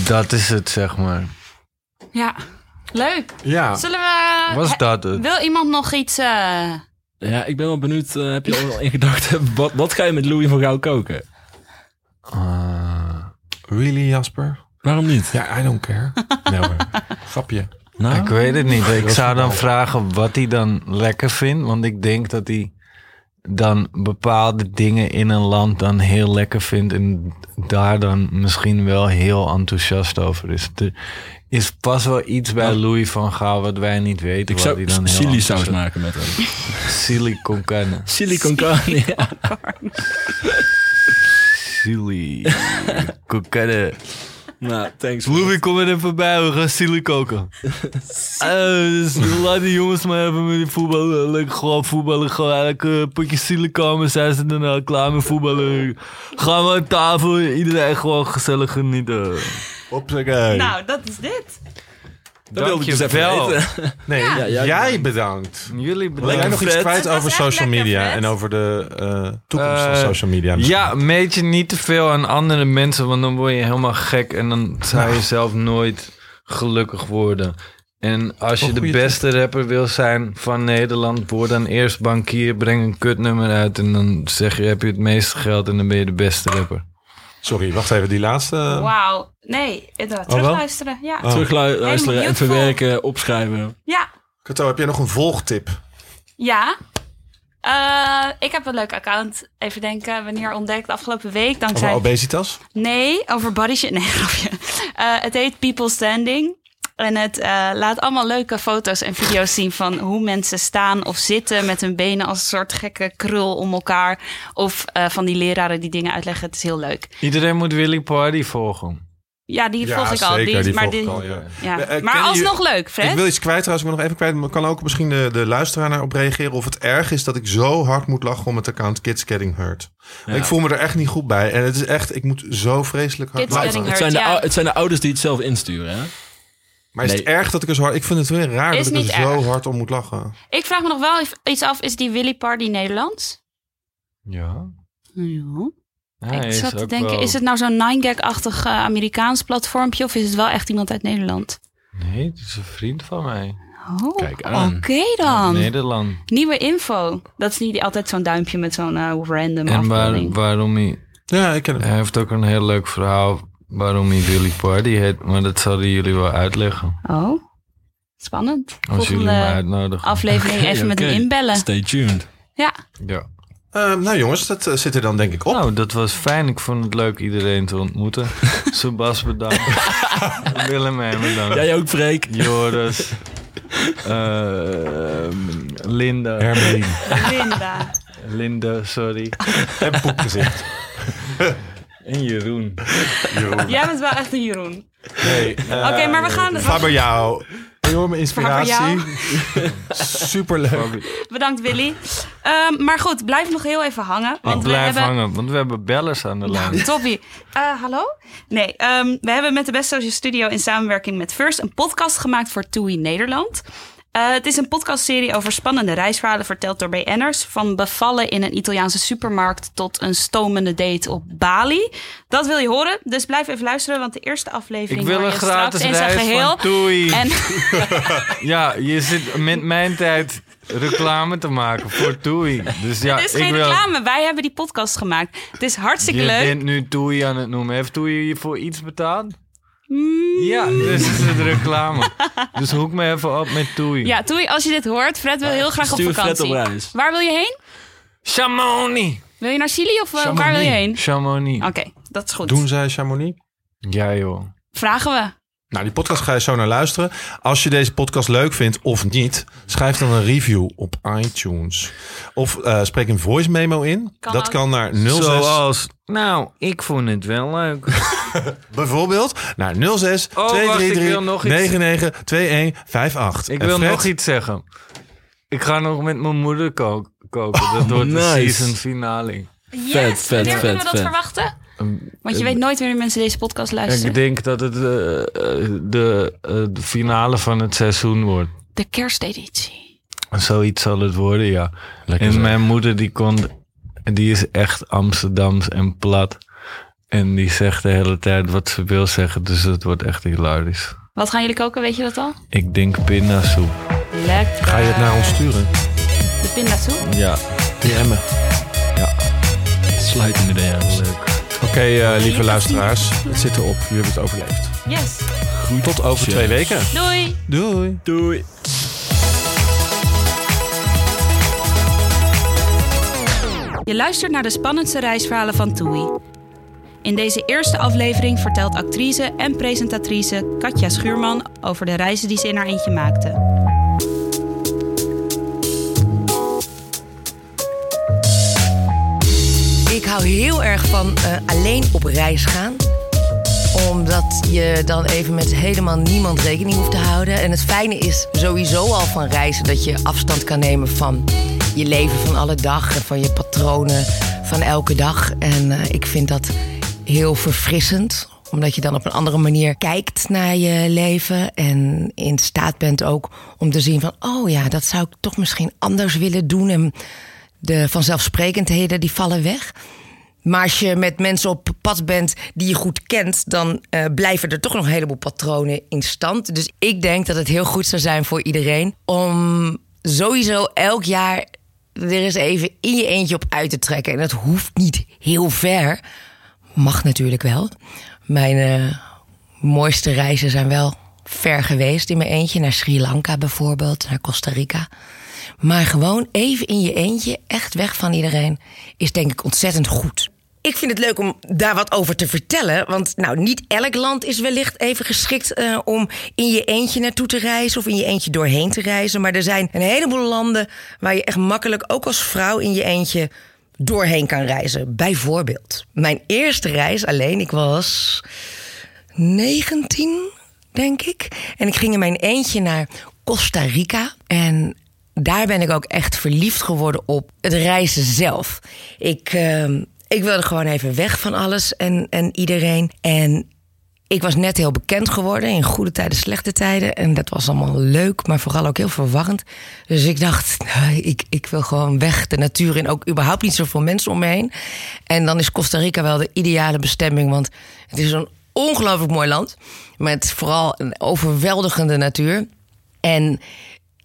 dat is het, zeg maar.
Ja. Leuk.
Ja.
Zullen we...
Ah. Was
He-
dat het?
Wil iemand nog iets... eh,
Ja, ik ben wel benieuwd. eh, heb je al in gedachten, wat, wat ga je met Louis van Gaal koken?
Ah.
Really, Jasper?
Waarom niet?
Ja, I don't care. Nee hoor. Grapje.
Nou,
Ik weet het niet. Ik zou dan vragen wat hij dan lekker vindt. Want ik denk dat hij dan bepaalde dingen in een land dan heel lekker vindt. En daar dan misschien wel heel enthousiast over is. Er is pas wel iets bij Louis van Gaal wat wij niet weten.
ik
wat hij
zou
dan heel
chili saus
enthousiast-
maken met hem.
Chili con carne.
Chili con carne. ja.
Chili con carne.
Nou, thanks.
Louis, kom er even bij. We gaan chili koken. Eh, dus laat die jongens maar even met die voetballen. Lekker gewoon voetballen. Gewoon lekker potje chili komen. Zijn ze dan al klaar met voetballen. Gaan we aan tafel. Iedereen gewoon gezellig genieten.
Opzij.
Nou, dat is dit.
Dat wilde ik dus even weten.
Nee,
Ja, jij-
jij bedankt.
Jullie
Wil jij nog iets kwijt
Het was
over
echt
social
lekker,
media
Fred.
en over de eh, toekomst van
Eh,
social media?
Ja, meet je niet te veel aan andere mensen, want dan word je helemaal gek en dan zou je zelf nooit gelukkig worden. En als
Een
je de
goede
beste rapper wil zijn van Nederland, word dan eerst bankier, breng een kutnummer uit en dan zeg je heb je het meeste geld en dan ben je de beste rapper.
Sorry, wacht even. Die laatste.
Wauw. Nee, inderdaad.
Oh, wel?
Terugluisteren. Ja.
Ah.
Oh.
Terugluisteren en
beautiful.
verwerken, opschrijven.
Ja.
Kato, heb jij nog een volgtip?
Ja. Eh, ik heb een leuk account. Even denken, wanneer ontdekt? Afgelopen week
Over
dankzij...
obesitas?
Nee, over body shit. Nee, grapje. Eh, het heet People Standing. En het eh, laat allemaal leuke foto's en video's zien van hoe mensen staan of zitten met hun benen als een soort gekke krul om elkaar. Of eh, van die leraren die dingen uitleggen. Het is heel leuk.
Iedereen moet Willy Party volgen.
Ja, die volg ik al.
zeker, die
maar
volg ik al, ja.
ja.
Eh, eh,
maar
kennen
alsnog leuk, Fred.
Ik wil iets kwijt trouwens, ik wil nog even kwijt. Maar kan ook misschien de, de luisteraar daarop reageren of het erg is dat ik zo hard moet lachen om het account Kids Getting Hurt. Ik voel me er echt niet goed bij. En het is echt, ik moet zo vreselijk hard
Kids
lachen.
Getting
Het
Hurt,
zijn, de,
ja.
ou- het zijn de ouders die het zelf insturen, hè?
Maar is het erg dat ik er zo hard... Ik vind het weer raar
Is
dat ik
niet
er zo
erg.
hard om moet lachen.
Ik vraag me nog wel even iets af. Is die Willy Party Nederlands?
Ja.
Ja.
Hij
ik
is
zat te
ook
denken,
wel-
is het nou zo'n 9gag-achtig eh, Amerikaans platformpje... of is het wel echt iemand uit Nederland?
Nee, het is een vriend van mij.
Oh,
Kijk
oké
aan.
dan.
Nederland.
Nieuwe info. Dat is niet die- altijd zo'n duimpje met zo'n eh, random
En waar,
afbeelding.
waarom hij
Ja, ik ken het.
Hij heeft ook een heel leuk verhaal waarom hij Willy Party heet, maar dat zouden jullie wel uitleggen.
Oh, spannend.
Als jullie hem
Volgende
uitnodigen.
aflevering even met hem
oké.
inbellen.
Stay tuned.
Ja,
Ja.
Eh, nou jongens, dat eh, zit er dan denk ik op.
Nou, dat was fijn. Ik vond het leuk iedereen te ontmoeten. Sebas bedankt. Willem en bedankt.
Jij ook, Freek?
Joris. Eh, Linda.
Hermelien.
Linda.
Linda, sorry.
en poepgezicht.
En Jeroen.
Jeroen.
Jij bent wel echt een Jeroen.
Nee,
Oké, maar
Eh,
we gaan...
Faber jou. Enorme inspiratie. Superleuk.
Bedankt, Willy. Ehm, maar goed, blijf nog heel even hangen. Want
Ik
we
blijf
hebben... Nou,
hangen, want we hebben bellers aan de lijn.
Toppie. Eh, hallo? Nee, ehm, we hebben met de Best Social Studio in samenwerking met First een podcast gemaakt voor TUI Nederland. Eh, het is een podcastserie over spannende reisverhalen verteld door BN'ers. Van bevallen in een Italiaanse supermarkt tot een stomende date op Bali. Dat wil je horen, dus blijf even luisteren, want de eerste aflevering
Ik wil
hoor
een
je straks
gratis
in zijn
reis
geheel.
van Toei.
En
Ja, je zit met mijn tijd reclame te maken voor Toei. Dus ja,
het is
ik
geen
wil...
reclame, wij hebben die podcast gemaakt. Het is hartstikke
Je
leuk.
bent nu Toei aan het noemen. Heeft Toei je voor iets betaald?
Mm.
Ja, dus is het reclame. dus hoek me even op met Toei.
Ja, Toei, als je dit hoort, Fred wil heel graag op
Stuur Fred
vakantie.
op reis.
Waar wil je heen?
Shamoni!
Wil je naar Chili of eh, waar wil je heen?
Chamonix.
Oké, dat is goed.
Doen zij Chamonix?
Ja, joh.
Vragen we.
Nou, die podcast ga je zo naar luisteren. Als je deze podcast leuk vindt of niet, schrijf dan een review op iTunes. Of eh, spreek een voice memo in.
Kan
dat
ook.
kan naar 06...
Zoals, nou, ik vond het wel leuk.
Bijvoorbeeld naar 06
Oh, wacht, ik wil nog iets.
99 2158.
Ik
En
wil
Fred,
nog iets zeggen. Ik ga nog met mijn moeder ko- koken. Dat wordt
nice.
de season finale.
Yes,
Vet, vet,
wanneer kunnen we
vet,
dat
vet.
verwachten?
Ehm,
Want je
eh,
weet nooit wanneer mensen deze podcast luisteren.
Ik denk dat het eh, eh, de, eh, de finale van het seizoen wordt.
De kersteditie.
Zoiets zal het worden, ja.
Lekker
en
zo.
mijn moeder die komt, die is echt Amsterdams en plat. En die zegt de hele tijd wat ze wil zeggen, dus het wordt echt hilarisch.
Wat gaan jullie koken, weet je dat al?
Ik denk pindasoep.
Lekker.
Ga je het naar ons sturen?
De pindasoep.
Ja,
DM'en.
Sluit in de DM's.
leuk.
Oké, eh, lieve luisteraars. Het zit erop. Jullie hebben het overleefd.
Yes.
Tot over
Yes.
twee weken.
Doei.
Doei.
Doei.
Je luistert naar de spannendste reisverhalen van TUI. In deze eerste aflevering vertelt actrice en presentatrice Katja Schuurman over de reizen die ze in haar eentje maakte.
Ik hou heel erg van eh, alleen op reis gaan. Omdat je dan even met helemaal niemand rekening hoeft te houden. En het fijne is sowieso al van reizen dat je afstand kan nemen van je leven van alle dag. En van je patronen van elke dag. En eh, ik vind dat heel verfrissend omdat je dan op een andere manier kijkt naar je leven. En in staat bent ook om te zien van... oh ja, dat zou ik toch misschien anders willen doen. En de vanzelfsprekendheden die vallen weg. Maar als je met mensen op pad bent die je goed kent, dan eh, blijven er toch nog een heleboel patronen in stand. Dus ik denk dat het heel goed zou zijn voor iedereen om sowieso elk jaar er eens even in je eentje op uit te trekken. En dat hoeft niet heel ver. Mag natuurlijk wel. Mijn eh, mooiste reizen zijn wel ver geweest in mijn eentje. Naar Sri Lanka bijvoorbeeld, naar Costa Rica. Maar gewoon even in je eentje, echt weg van iedereen, is denk ik ontzettend goed. Ik vind het leuk om daar wat over te vertellen. Want nou, niet elk land is wellicht even geschikt eh, om in je eentje naartoe te reizen of in je eentje doorheen te reizen. Maar er zijn een heleboel landen waar je echt makkelijk, ook als vrouw in je eentje, doorheen kan reizen. Bijvoorbeeld, mijn eerste reis alleen, ik was 19, denk ik. En ik ging in mijn eentje naar Costa Rica. En daar ben ik ook echt verliefd geworden op het reizen zelf. Ik, ehm, ik wilde gewoon even weg van alles en, en iedereen. En ik was net heel bekend geworden in goede tijden, slechte tijden. En dat was allemaal leuk, maar vooral ook heel verwarrend. Dus ik dacht, nou, ik, ik wil gewoon weg de natuur in. Ook überhaupt niet zoveel mensen om me heen. En dan is Costa Rica wel de ideale bestemming. Want het is een ongelooflijk mooi land. Met vooral een overweldigende natuur. En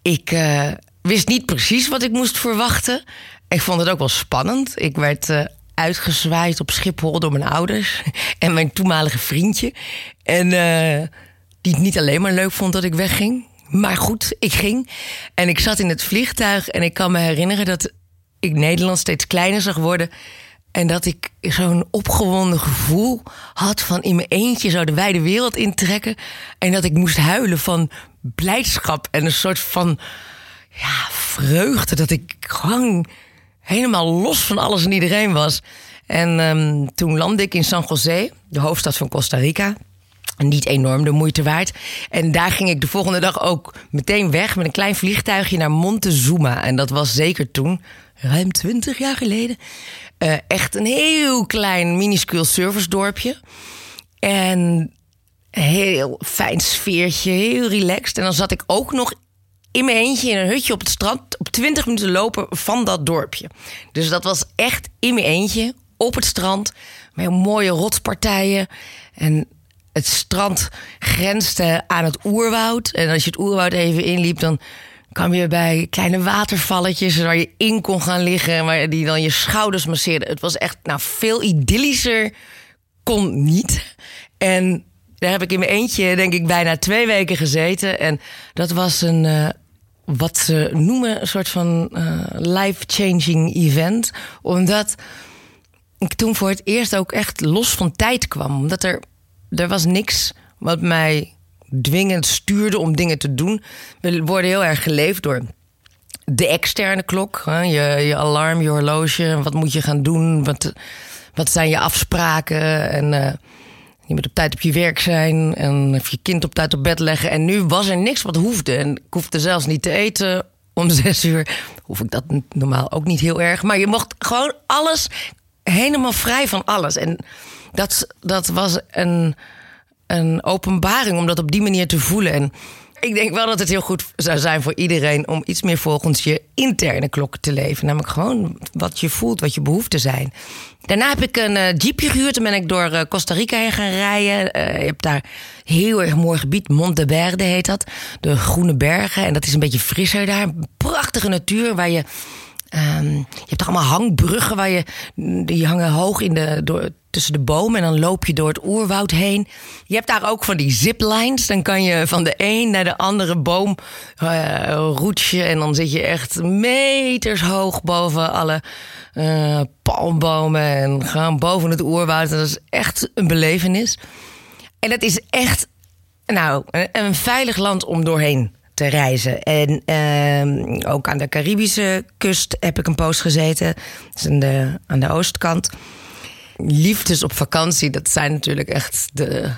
ik eh, wist niet precies wat ik moest verwachten. Ik vond het ook wel spannend. Ik werd eh, uitgezwaaid op Schiphol door mijn ouders en mijn toenmalige vriendje. En eh, die het niet alleen maar leuk vond dat ik wegging. Maar goed, ik ging. En ik zat in het vliegtuig en ik kan me herinneren dat ik Nederland steeds kleiner zag worden. En dat ik zo'n opgewonden gevoel had van in mijn eentje zo de wijde wereld intrekken. En dat ik moest huilen van blijdschap en een soort van ja, vreugde. Dat ik gewoon helemaal los van alles en iedereen was. En ehm, toen landde ik in San José, de hoofdstad van Costa Rica. Niet enorm de moeite waard. En daar ging ik de volgende dag ook meteen weg met een klein vliegtuigje naar Montezuma. En dat was zeker toen, ruim 20 jaar geleden, eh, echt een heel klein, minuscuul servicedorpje. En heel fijn sfeertje, heel relaxed. En dan zat ik ook nog in mijn eentje in een hutje op het strand... op 20 minuten lopen van dat dorpje. Dus dat was echt in mijn eentje op het strand... met mooie rotspartijen. En het strand grensde aan het oerwoud. En als je het oerwoud even inliep, dan kwam je bij kleine watervalletjes... waar je in kon gaan liggen en waar die dan je schouders masseerden. Het was echt nou, veel idyllischer kon niet. En daar heb ik in mijn eentje, denk ik, bijna twee weken gezeten. En dat was een eh, wat ze noemen een soort van eh, life-changing event. Omdat ik toen voor het eerst ook echt los van tijd kwam. Omdat er, er was niks wat mij dwingend stuurde om dingen te doen. We worden heel erg geleefd door de externe klok. Hè? Je, je alarm, je horloge. Wat moet je gaan doen? Wat, wat zijn je afspraken? En eh, je moet op tijd op je werk zijn. En of je kind op tijd op bed leggen. En nu was er niks wat hoefde. En ik hoefde zelfs niet te eten om zes uur. Hoef ik dat normaal ook niet heel erg. Maar je mocht gewoon alles helemaal vrij van alles. En dat, dat was een, een openbaring om dat op die manier te voelen. En ik denk wel dat het heel goed zou zijn voor iedereen om iets meer volgens je interne klok te leven. Namelijk gewoon wat je voelt, wat je behoeften zijn. Daarna heb ik een eh, jeepje gehuurd en ben ik door eh, Costa Rica heen gaan rijden. Eh, je hebt daar heel erg mooi gebied, Monte Verde heet dat. De Groene Bergen. En dat is een beetje frisser daar. Prachtige natuur waar je Ehm, je hebt allemaal hangbruggen waar je, die hangen hoog in de, door, tussen de bomen en dan loop je door het oerwoud heen. Je hebt daar ook van die ziplines. Dan kan je van de een naar de andere boom eh roetje en dan zit je echt meters hoog boven alle eh, palmbomen en gaan boven het oerwoud. Dat is echt een belevenis. En dat is echt nou, een- een veilig land om doorheen te reizen. En ehm, ook aan de Caribische kust heb ik een poos gezeten. Dus aan de, aan de oostkant. Liefdes op vakantie, dat zijn natuurlijk echt de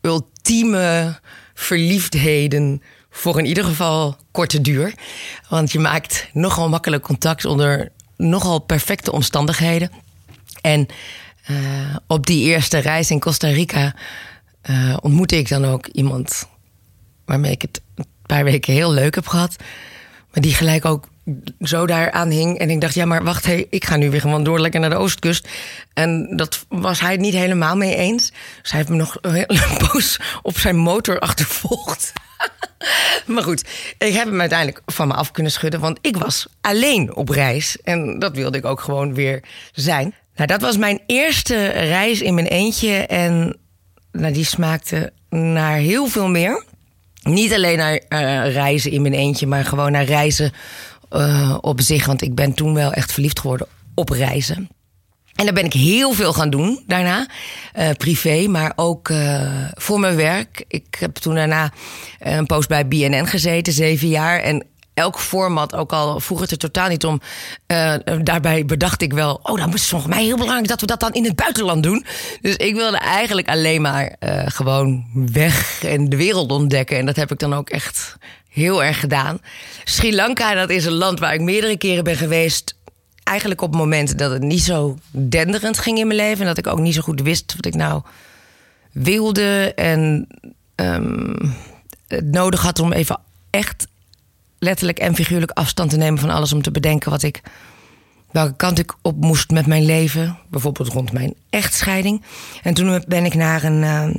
ultieme verliefdheden. Voor in ieder geval korte duur. Want je maakt nogal makkelijk contact onder nogal perfecte omstandigheden. En eh, op die eerste reis in Costa Rica eh, ontmoette ik dan ook iemand waarmee ik het een paar weken heel leuk heb gehad. Maar die gelijk ook zo daaraan hing. En ik dacht, ja, maar wacht, hey, ik ga nu weer gewoon door lekker naar de oostkust. En dat was hij het niet helemaal mee eens. Dus hij heeft me nog een hele poos op zijn motor achtervolgd. maar goed, ik heb hem uiteindelijk van me af kunnen schudden. Want ik was alleen op reis. En dat wilde ik ook gewoon weer zijn. Nou, dat was mijn eerste reis in mijn eentje. En nou, die smaakte naar heel veel meer. Niet alleen naar eh, reizen in mijn eentje, maar gewoon naar reizen eh, op zich. Want ik ben toen wel echt verliefd geworden op reizen. En daar ben ik heel veel gaan doen daarna. Eh, privé, maar ook eh, voor mijn werk. Ik heb toen daarna eh, een post bij BNN gezeten, zeven jaar. En elk format, ook al vroeg het er totaal niet om. eh, daarbij bedacht ik wel, oh, dan is het volgens mij heel belangrijk dat we dat dan in het buitenland doen. Dus ik wilde eigenlijk alleen maar eh, gewoon weg en de wereld ontdekken. En dat heb ik dan ook echt heel erg gedaan. Sri Lanka, dat is een land waar ik meerdere keren ben geweest eigenlijk op het moment dat het niet zo denderend ging in mijn leven. En dat ik ook niet zo goed wist wat ik nou wilde. En ehm, het nodig had om even echt letterlijk en figuurlijk afstand te nemen van alles. Om te bedenken wat ik, welke kant ik op moest met mijn leven. Bijvoorbeeld rond mijn echtscheiding. En toen ben ik naar een ehm,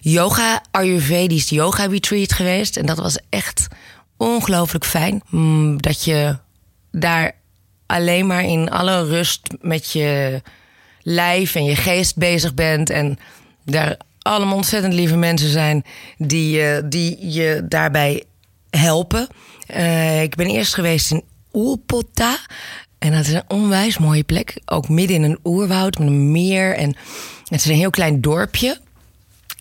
yoga, Ayurvedisch yoga retreat geweest. En dat was echt ongelooflijk fijn. Mm, Dat je daar alleen maar in alle rust met je lijf en je geest bezig bent. En daar allemaal ontzettend lieve mensen zijn die, je- die je daarbij helpen. Eh, ik ben eerst geweest in Oelpota. En dat is een onwijs mooie plek. Ook midden in een oerwoud met een meer. En het is een heel klein dorpje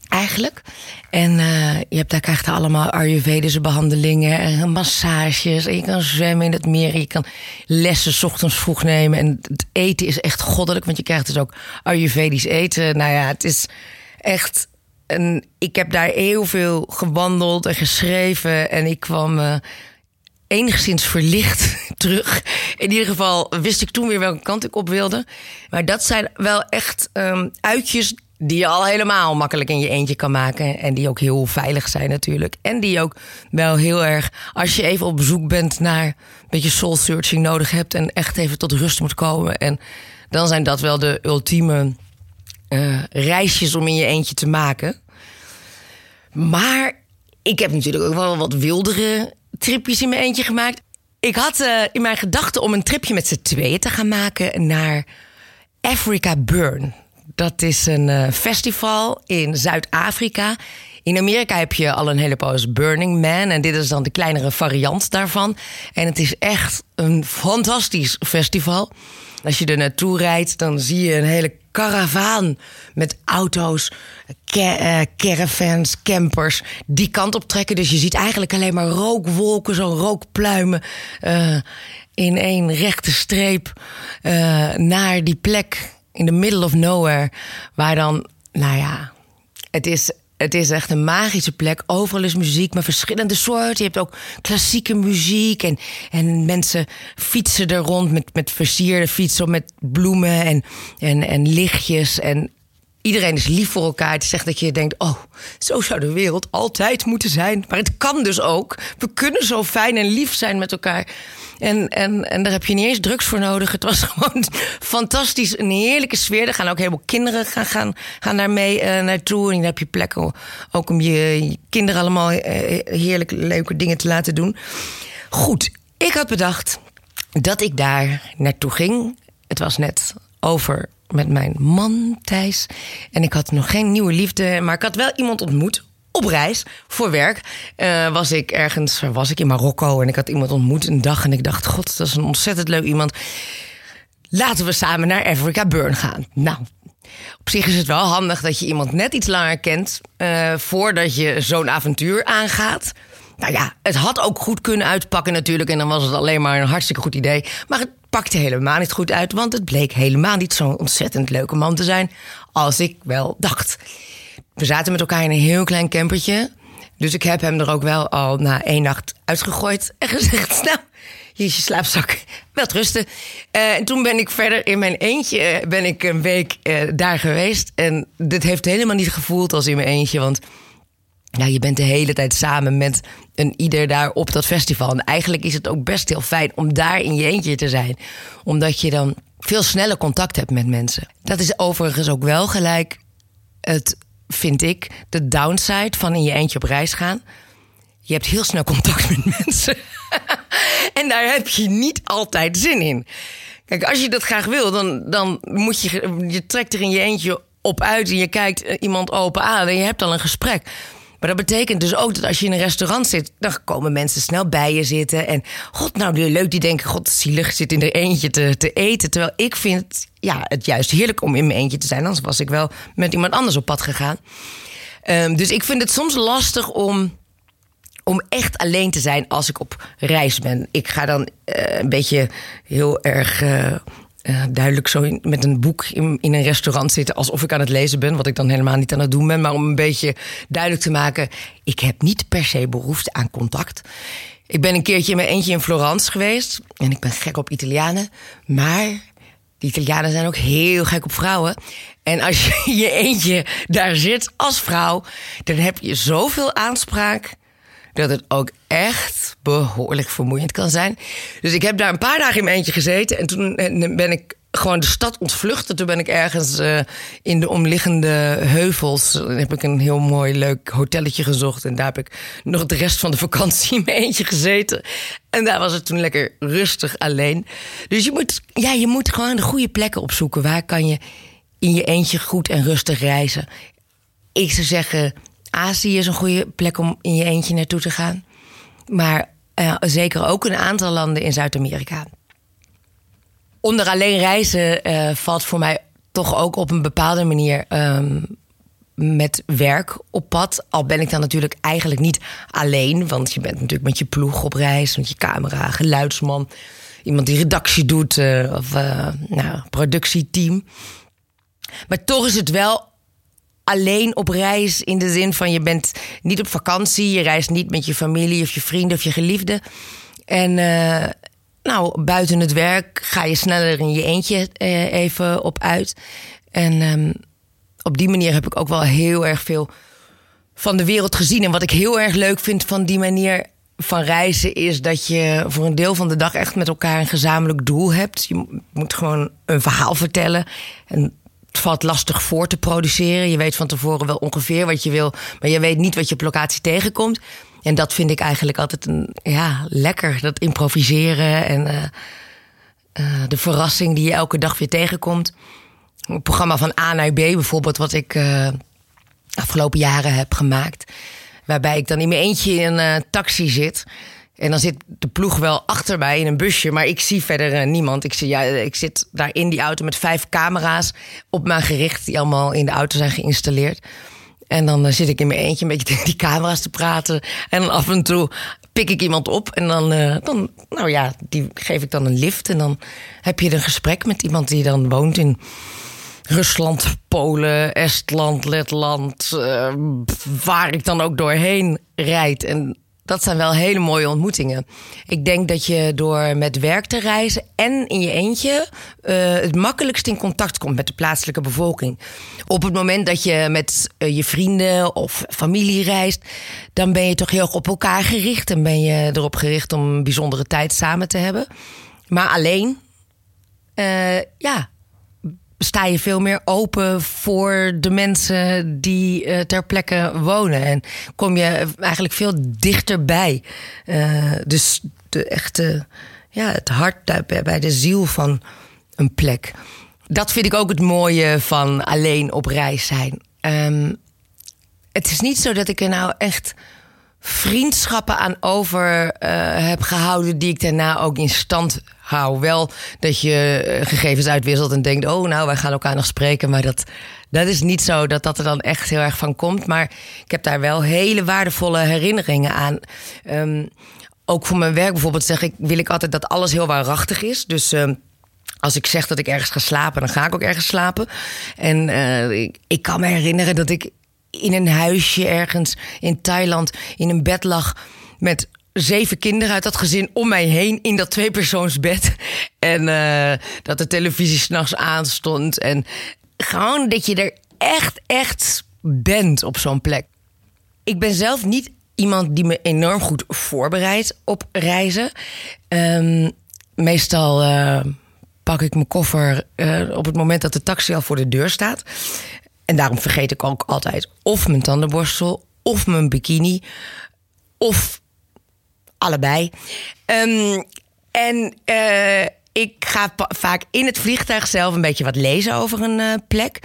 eigenlijk. En eh, je hebt daar krijgt daar allemaal Ayurvedische behandelingen en massages. En je kan zwemmen in het meer. Je kan lessen 's ochtends vroeg nemen. En het eten is echt goddelijk, want je krijgt dus ook Ayurvedisch eten. Nou ja, het is echt. Een, ik heb daar heel veel gewandeld en geschreven. En ik kwam. eh, enigszins verlicht terug. In ieder geval wist ik toen weer welke kant ik op wilde. Maar dat zijn wel echt ehm, uitjes die je al helemaal makkelijk in je eentje kan maken. En die ook heel veilig zijn natuurlijk. En die ook wel heel erg, als je even op bezoek bent naar een beetje soul searching nodig hebt. En echt even tot rust moet komen. En dan zijn dat wel de ultieme eh, reisjes om in je eentje te maken. Maar ik heb natuurlijk ook wel wat wildere tripjes in mijn eentje gemaakt. Ik had eh, in mijn gedachten om een tripje met z'n tweeën te gaan maken naar Africa Burn. Dat is een eh, festival in Zuid-Afrika In Amerika heb je al een hele poos Burning Man. En dit is dan de kleinere variant daarvan. En het is echt een fantastisch festival. Als je er naartoe rijdt, dan zie je een hele karavaan met auto's, ca- eh, caravans, campers die kant op trekken. Dus je ziet eigenlijk alleen maar rookwolken, zo'n rookpluimen eh, in één rechte streep eh, naar die plek in the middle of nowhere. Waar dan, nou ja, het is, het is echt een magische plek. Overal is muziek, maar verschillende soorten. Je hebt ook klassieke muziek. En, en mensen fietsen er rond met, met versierde fietsen, met bloemen en, en, en lichtjes. En iedereen is lief voor elkaar. Het is echt dat je denkt: oh, zo zou de wereld altijd moeten zijn. Maar het kan dus ook. We kunnen zo fijn en lief zijn met elkaar. En, en, en daar heb je niet eens drugs voor nodig. Het was gewoon fantastisch. Een heerlijke sfeer. Er gaan ook helemaal kinderen gaan, gaan, gaan daar mee eh, naartoe. En dan heb je plek o- ook om je, je kinderen allemaal eh, heerlijk leuke dingen te laten doen. Goed, ik had bedacht dat ik daar naartoe ging. Het was net over met mijn man Thijs. En ik had nog geen nieuwe liefde, maar ik had wel iemand ontmoet. Op reis, voor werk, Eh, was ik ergens, waar was ik in Marokko en ik had iemand ontmoet een dag en ik dacht, god, dat is een ontzettend leuk iemand. Laten we samen naar Africa Burn gaan. Nou, op zich is het wel handig dat je iemand net iets langer kent eh, voordat je zo'n avontuur aangaat. Nou ja, het had ook goed kunnen uitpakken natuurlijk en dan was het alleen maar een hartstikke goed idee. Maar het pakte helemaal niet goed uit, want het bleek helemaal niet zo'n ontzettend leuke man te zijn als ik wel dacht. We zaten met elkaar in een heel klein campertje. Dus ik heb hem er ook wel al na één nacht uitgegooid en gezegd: Nou, hier is je slaapzak, wel rusten. Eh, en toen ben ik verder in mijn eentje eh, ben ik een week eh, daar geweest. En dit heeft helemaal niet gevoeld als in mijn eentje. Want nou, je bent de hele tijd samen met een ieder daar op dat festival. En eigenlijk is het ook best heel fijn om daar in je eentje te zijn. Omdat je dan veel sneller contact hebt met mensen. Dat is overigens ook wel gelijk het, vind ik, de downside van in je eentje op reis gaan. Je hebt heel snel contact met mensen. en daar heb je niet altijd zin in. Kijk, als je dat graag wil, dan, dan moet je, je trekt er in je eentje op uit en je kijkt eh, iemand open aan en je hebt al een gesprek. Maar dat betekent dus ook dat als je in een restaurant zit, dan komen mensen snel bij je zitten. En god, nou die- leuk, die denken, god, zielig zit in er eentje te, te eten. Terwijl ik vind ja, het juist heerlijk om in mijn eentje te zijn. Anders was ik wel met iemand anders op pad gegaan. Ehm, dus ik vind het soms lastig om om echt alleen te zijn als ik op reis ben. Ik ga dan eh, een beetje heel erg eh, eh, duidelijk zo in- met een boek in, in een restaurant zitten. Alsof ik aan het lezen ben, wat ik dan helemaal niet aan het doen ben. Maar om een beetje duidelijk te maken, ik heb niet per se behoefte aan contact. Ik ben een keertje in mijn eentje in Florence geweest. En ik ben gek op Italianen. Maar die Italianen zijn ook heel gek op vrouwen. En als je in je eentje daar zit als vrouw, dan heb je zoveel aanspraak dat het ook echt behoorlijk vermoeiend kan zijn. Dus ik heb daar een paar dagen in mijn eentje gezeten en toen eh, ben ik gewoon de stad ontvluchten. Toen ben ik ergens eh, in de omliggende heuvels. eh, heb ik een heel mooi, leuk hotelletje gezocht. En daar heb ik nog de rest van de vakantie in mijn eentje gezeten. En daar was het toen lekker rustig alleen. Dus je moet, ja, je moet gewoon de goede plekken opzoeken. Waar kan je in je eentje goed en rustig reizen? Ik zou zeggen, Azië is een goede plek om in je eentje naartoe te gaan. Maar eh, zeker ook een aantal landen in Zuid-Amerika onder alleen reizen eh, valt voor mij toch ook op een bepaalde manier ehm, met werk op pad. Al ben ik dan natuurlijk eigenlijk niet alleen, want je bent natuurlijk met je ploeg op reis, met je camera, geluidsman, iemand die redactie doet eh, of eh, nou, productieteam. Maar toch is het wel alleen op reis in de zin van je bent niet op vakantie, je reist niet met je familie of je vrienden of je geliefde. En eh, nou, buiten het werk ga je sneller in je eentje eh, even op uit. En ehm, op die manier heb ik ook wel heel erg veel van de wereld gezien. En wat ik heel erg leuk vind van die manier van reizen is dat je voor een deel van de dag echt met elkaar een gezamenlijk doel hebt. Je mo- moet gewoon een verhaal vertellen. En het valt lastig voor te produceren. Je weet van tevoren wel ongeveer wat je wil, maar je weet niet wat je op locatie tegenkomt. En dat vind ik eigenlijk altijd een, ja, lekker. Dat improviseren en eh, eh, de verrassing die je elke dag weer tegenkomt. Een programma van A naar B bijvoorbeeld, wat ik eh, afgelopen jaren heb gemaakt. Waarbij ik dan in mijn eentje in een eh, taxi zit. En dan zit de ploeg wel achter mij in een busje, maar ik zie verder eh, niemand. Ik, zie, ja, ik zit daar in die auto met vijf camera's op mijn gericht, die allemaal in de auto zijn geïnstalleerd. En dan eh, zit ik in mijn eentje een beetje tegen die camera's te praten. En dan af en toe pik ik iemand op. En dan, eh, dan nou ja, die geef ik dan een lift. En dan heb je een gesprek met iemand die dan woont in Rusland, Polen, Estland, Letland. eh, waar ik dan ook doorheen rijd. En dat zijn wel hele mooie ontmoetingen. Ik denk dat je door met werk te reizen en in je eentje eh, het makkelijkst in contact komt met de plaatselijke bevolking. Op het moment dat je met eh, je vrienden of familie reist, dan ben je toch heel erg op elkaar gericht. En ben je erop gericht om een bijzondere tijd samen te hebben. Maar alleen, eh, ja, sta je veel meer open voor de mensen die eh, ter plekke wonen. En kom je eigenlijk veel dichterbij. Eh, dus de echte, ja, het hart bij- bij de ziel van een plek. Dat vind ik ook het mooie van alleen op reis zijn. Ehm, het is niet zo dat ik er nou echt vriendschappen aan over eh, heb gehouden... die ik daarna ook in stand hou. Wel dat je eh, gegevens uitwisselt en denkt... oh, nou, wij gaan elkaar nog spreken. Maar dat, dat is niet zo dat dat er dan echt heel erg van komt. Maar ik heb daar wel hele waardevolle herinneringen aan. Ehm, ook voor mijn werk bijvoorbeeld zeg ik... wil ik altijd dat alles heel waarachtig is. Dus... ehm, als ik zeg dat ik ergens ga slapen, dan ga ik ook ergens slapen. En eh, ik, ik kan me herinneren dat ik in een huisje ergens in Thailand in een bed lag met zeven kinderen uit dat gezin om mij heen in dat tweepersoonsbed. En eh, dat de televisie s'nachts aanstond. En gewoon dat je er echt, echt bent op zo'n plek. Ik ben zelf niet iemand die me enorm goed voorbereidt op reizen. Ehm, meestal eh, pak ik mijn koffer eh, op het moment dat de taxi al voor de deur staat. En daarom vergeet ik ook altijd of mijn tandenborstel of mijn bikini of allebei. Ehm, en eh, ik ga pa- vaak in het vliegtuig zelf een beetje wat lezen over een eh, plek.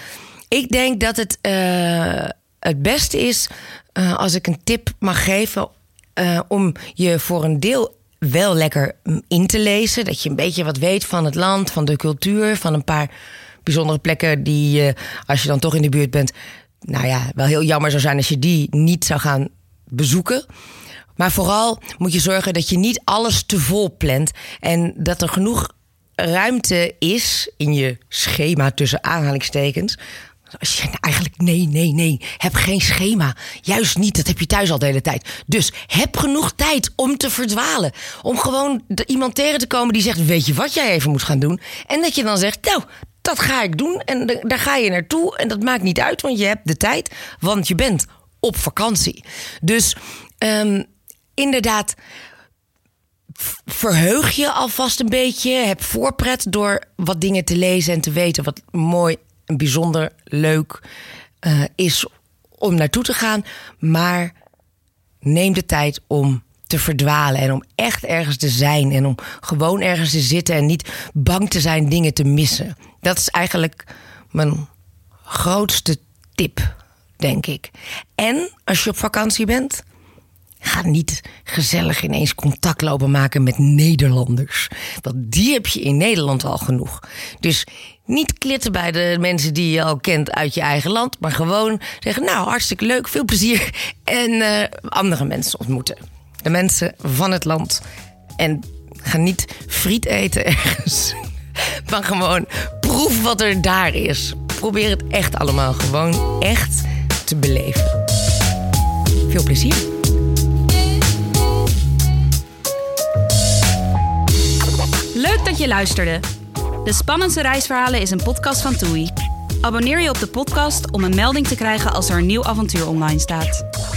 Ik denk dat het eh, het beste is eh, als ik een tip mag geven eh, om je voor een deel wel lekker mm, in te lezen. Dat je een beetje wat weet van het land, van de cultuur, van een paar bijzondere plekken die je, als je dan toch in de buurt bent, nou ja, wel heel jammer zou zijn als je die niet zou gaan bezoeken. Maar vooral moet je zorgen dat je niet alles te vol plant. En dat er genoeg ruimte is in je schema tussen aanhalingstekens. Als je nou eigenlijk nee, nee, nee, heb geen schema. Juist niet, dat heb je thuis al de hele tijd. Dus heb genoeg tijd om te verdwalen. Om gewoon de- iemand tegen te komen die zegt: Weet je wat jij even moet gaan doen? En dat je dan zegt: Nou, dat ga ik doen. En da- daar ga je naartoe. En dat maakt niet uit, want je hebt de tijd. Want je bent op vakantie. Dus ehm, inderdaad, v- verheug je alvast een beetje. Heb voorpret door wat dingen te lezen en te weten. Wat mooi en bijzonder leuk eh, is om naartoe te gaan. Maar neem de tijd om te verdwalen en om echt ergens te zijn en om gewoon ergens te zitten en niet bang te zijn dingen te missen. Dat is eigenlijk mijn grootste tip, denk ik. En als je op vakantie bent, Ga niet gezellig ineens contact lopen maken met Nederlanders. Want die heb je in Nederland al genoeg. Dus niet klitten bij de mensen die je al kent uit je eigen land. Maar gewoon zeggen, nou hartstikke leuk, veel plezier. En eh, andere mensen ontmoeten. De mensen van het land. En ga niet friet eten ergens. Maar gewoon proef wat er daar is. Probeer het echt allemaal gewoon echt te beleven. Veel plezier.
Leuk dat je luisterde. De Spannendste Reisverhalen is een podcast van TUI. Abonneer je op de podcast om een melding te krijgen als er een nieuw avontuur online staat.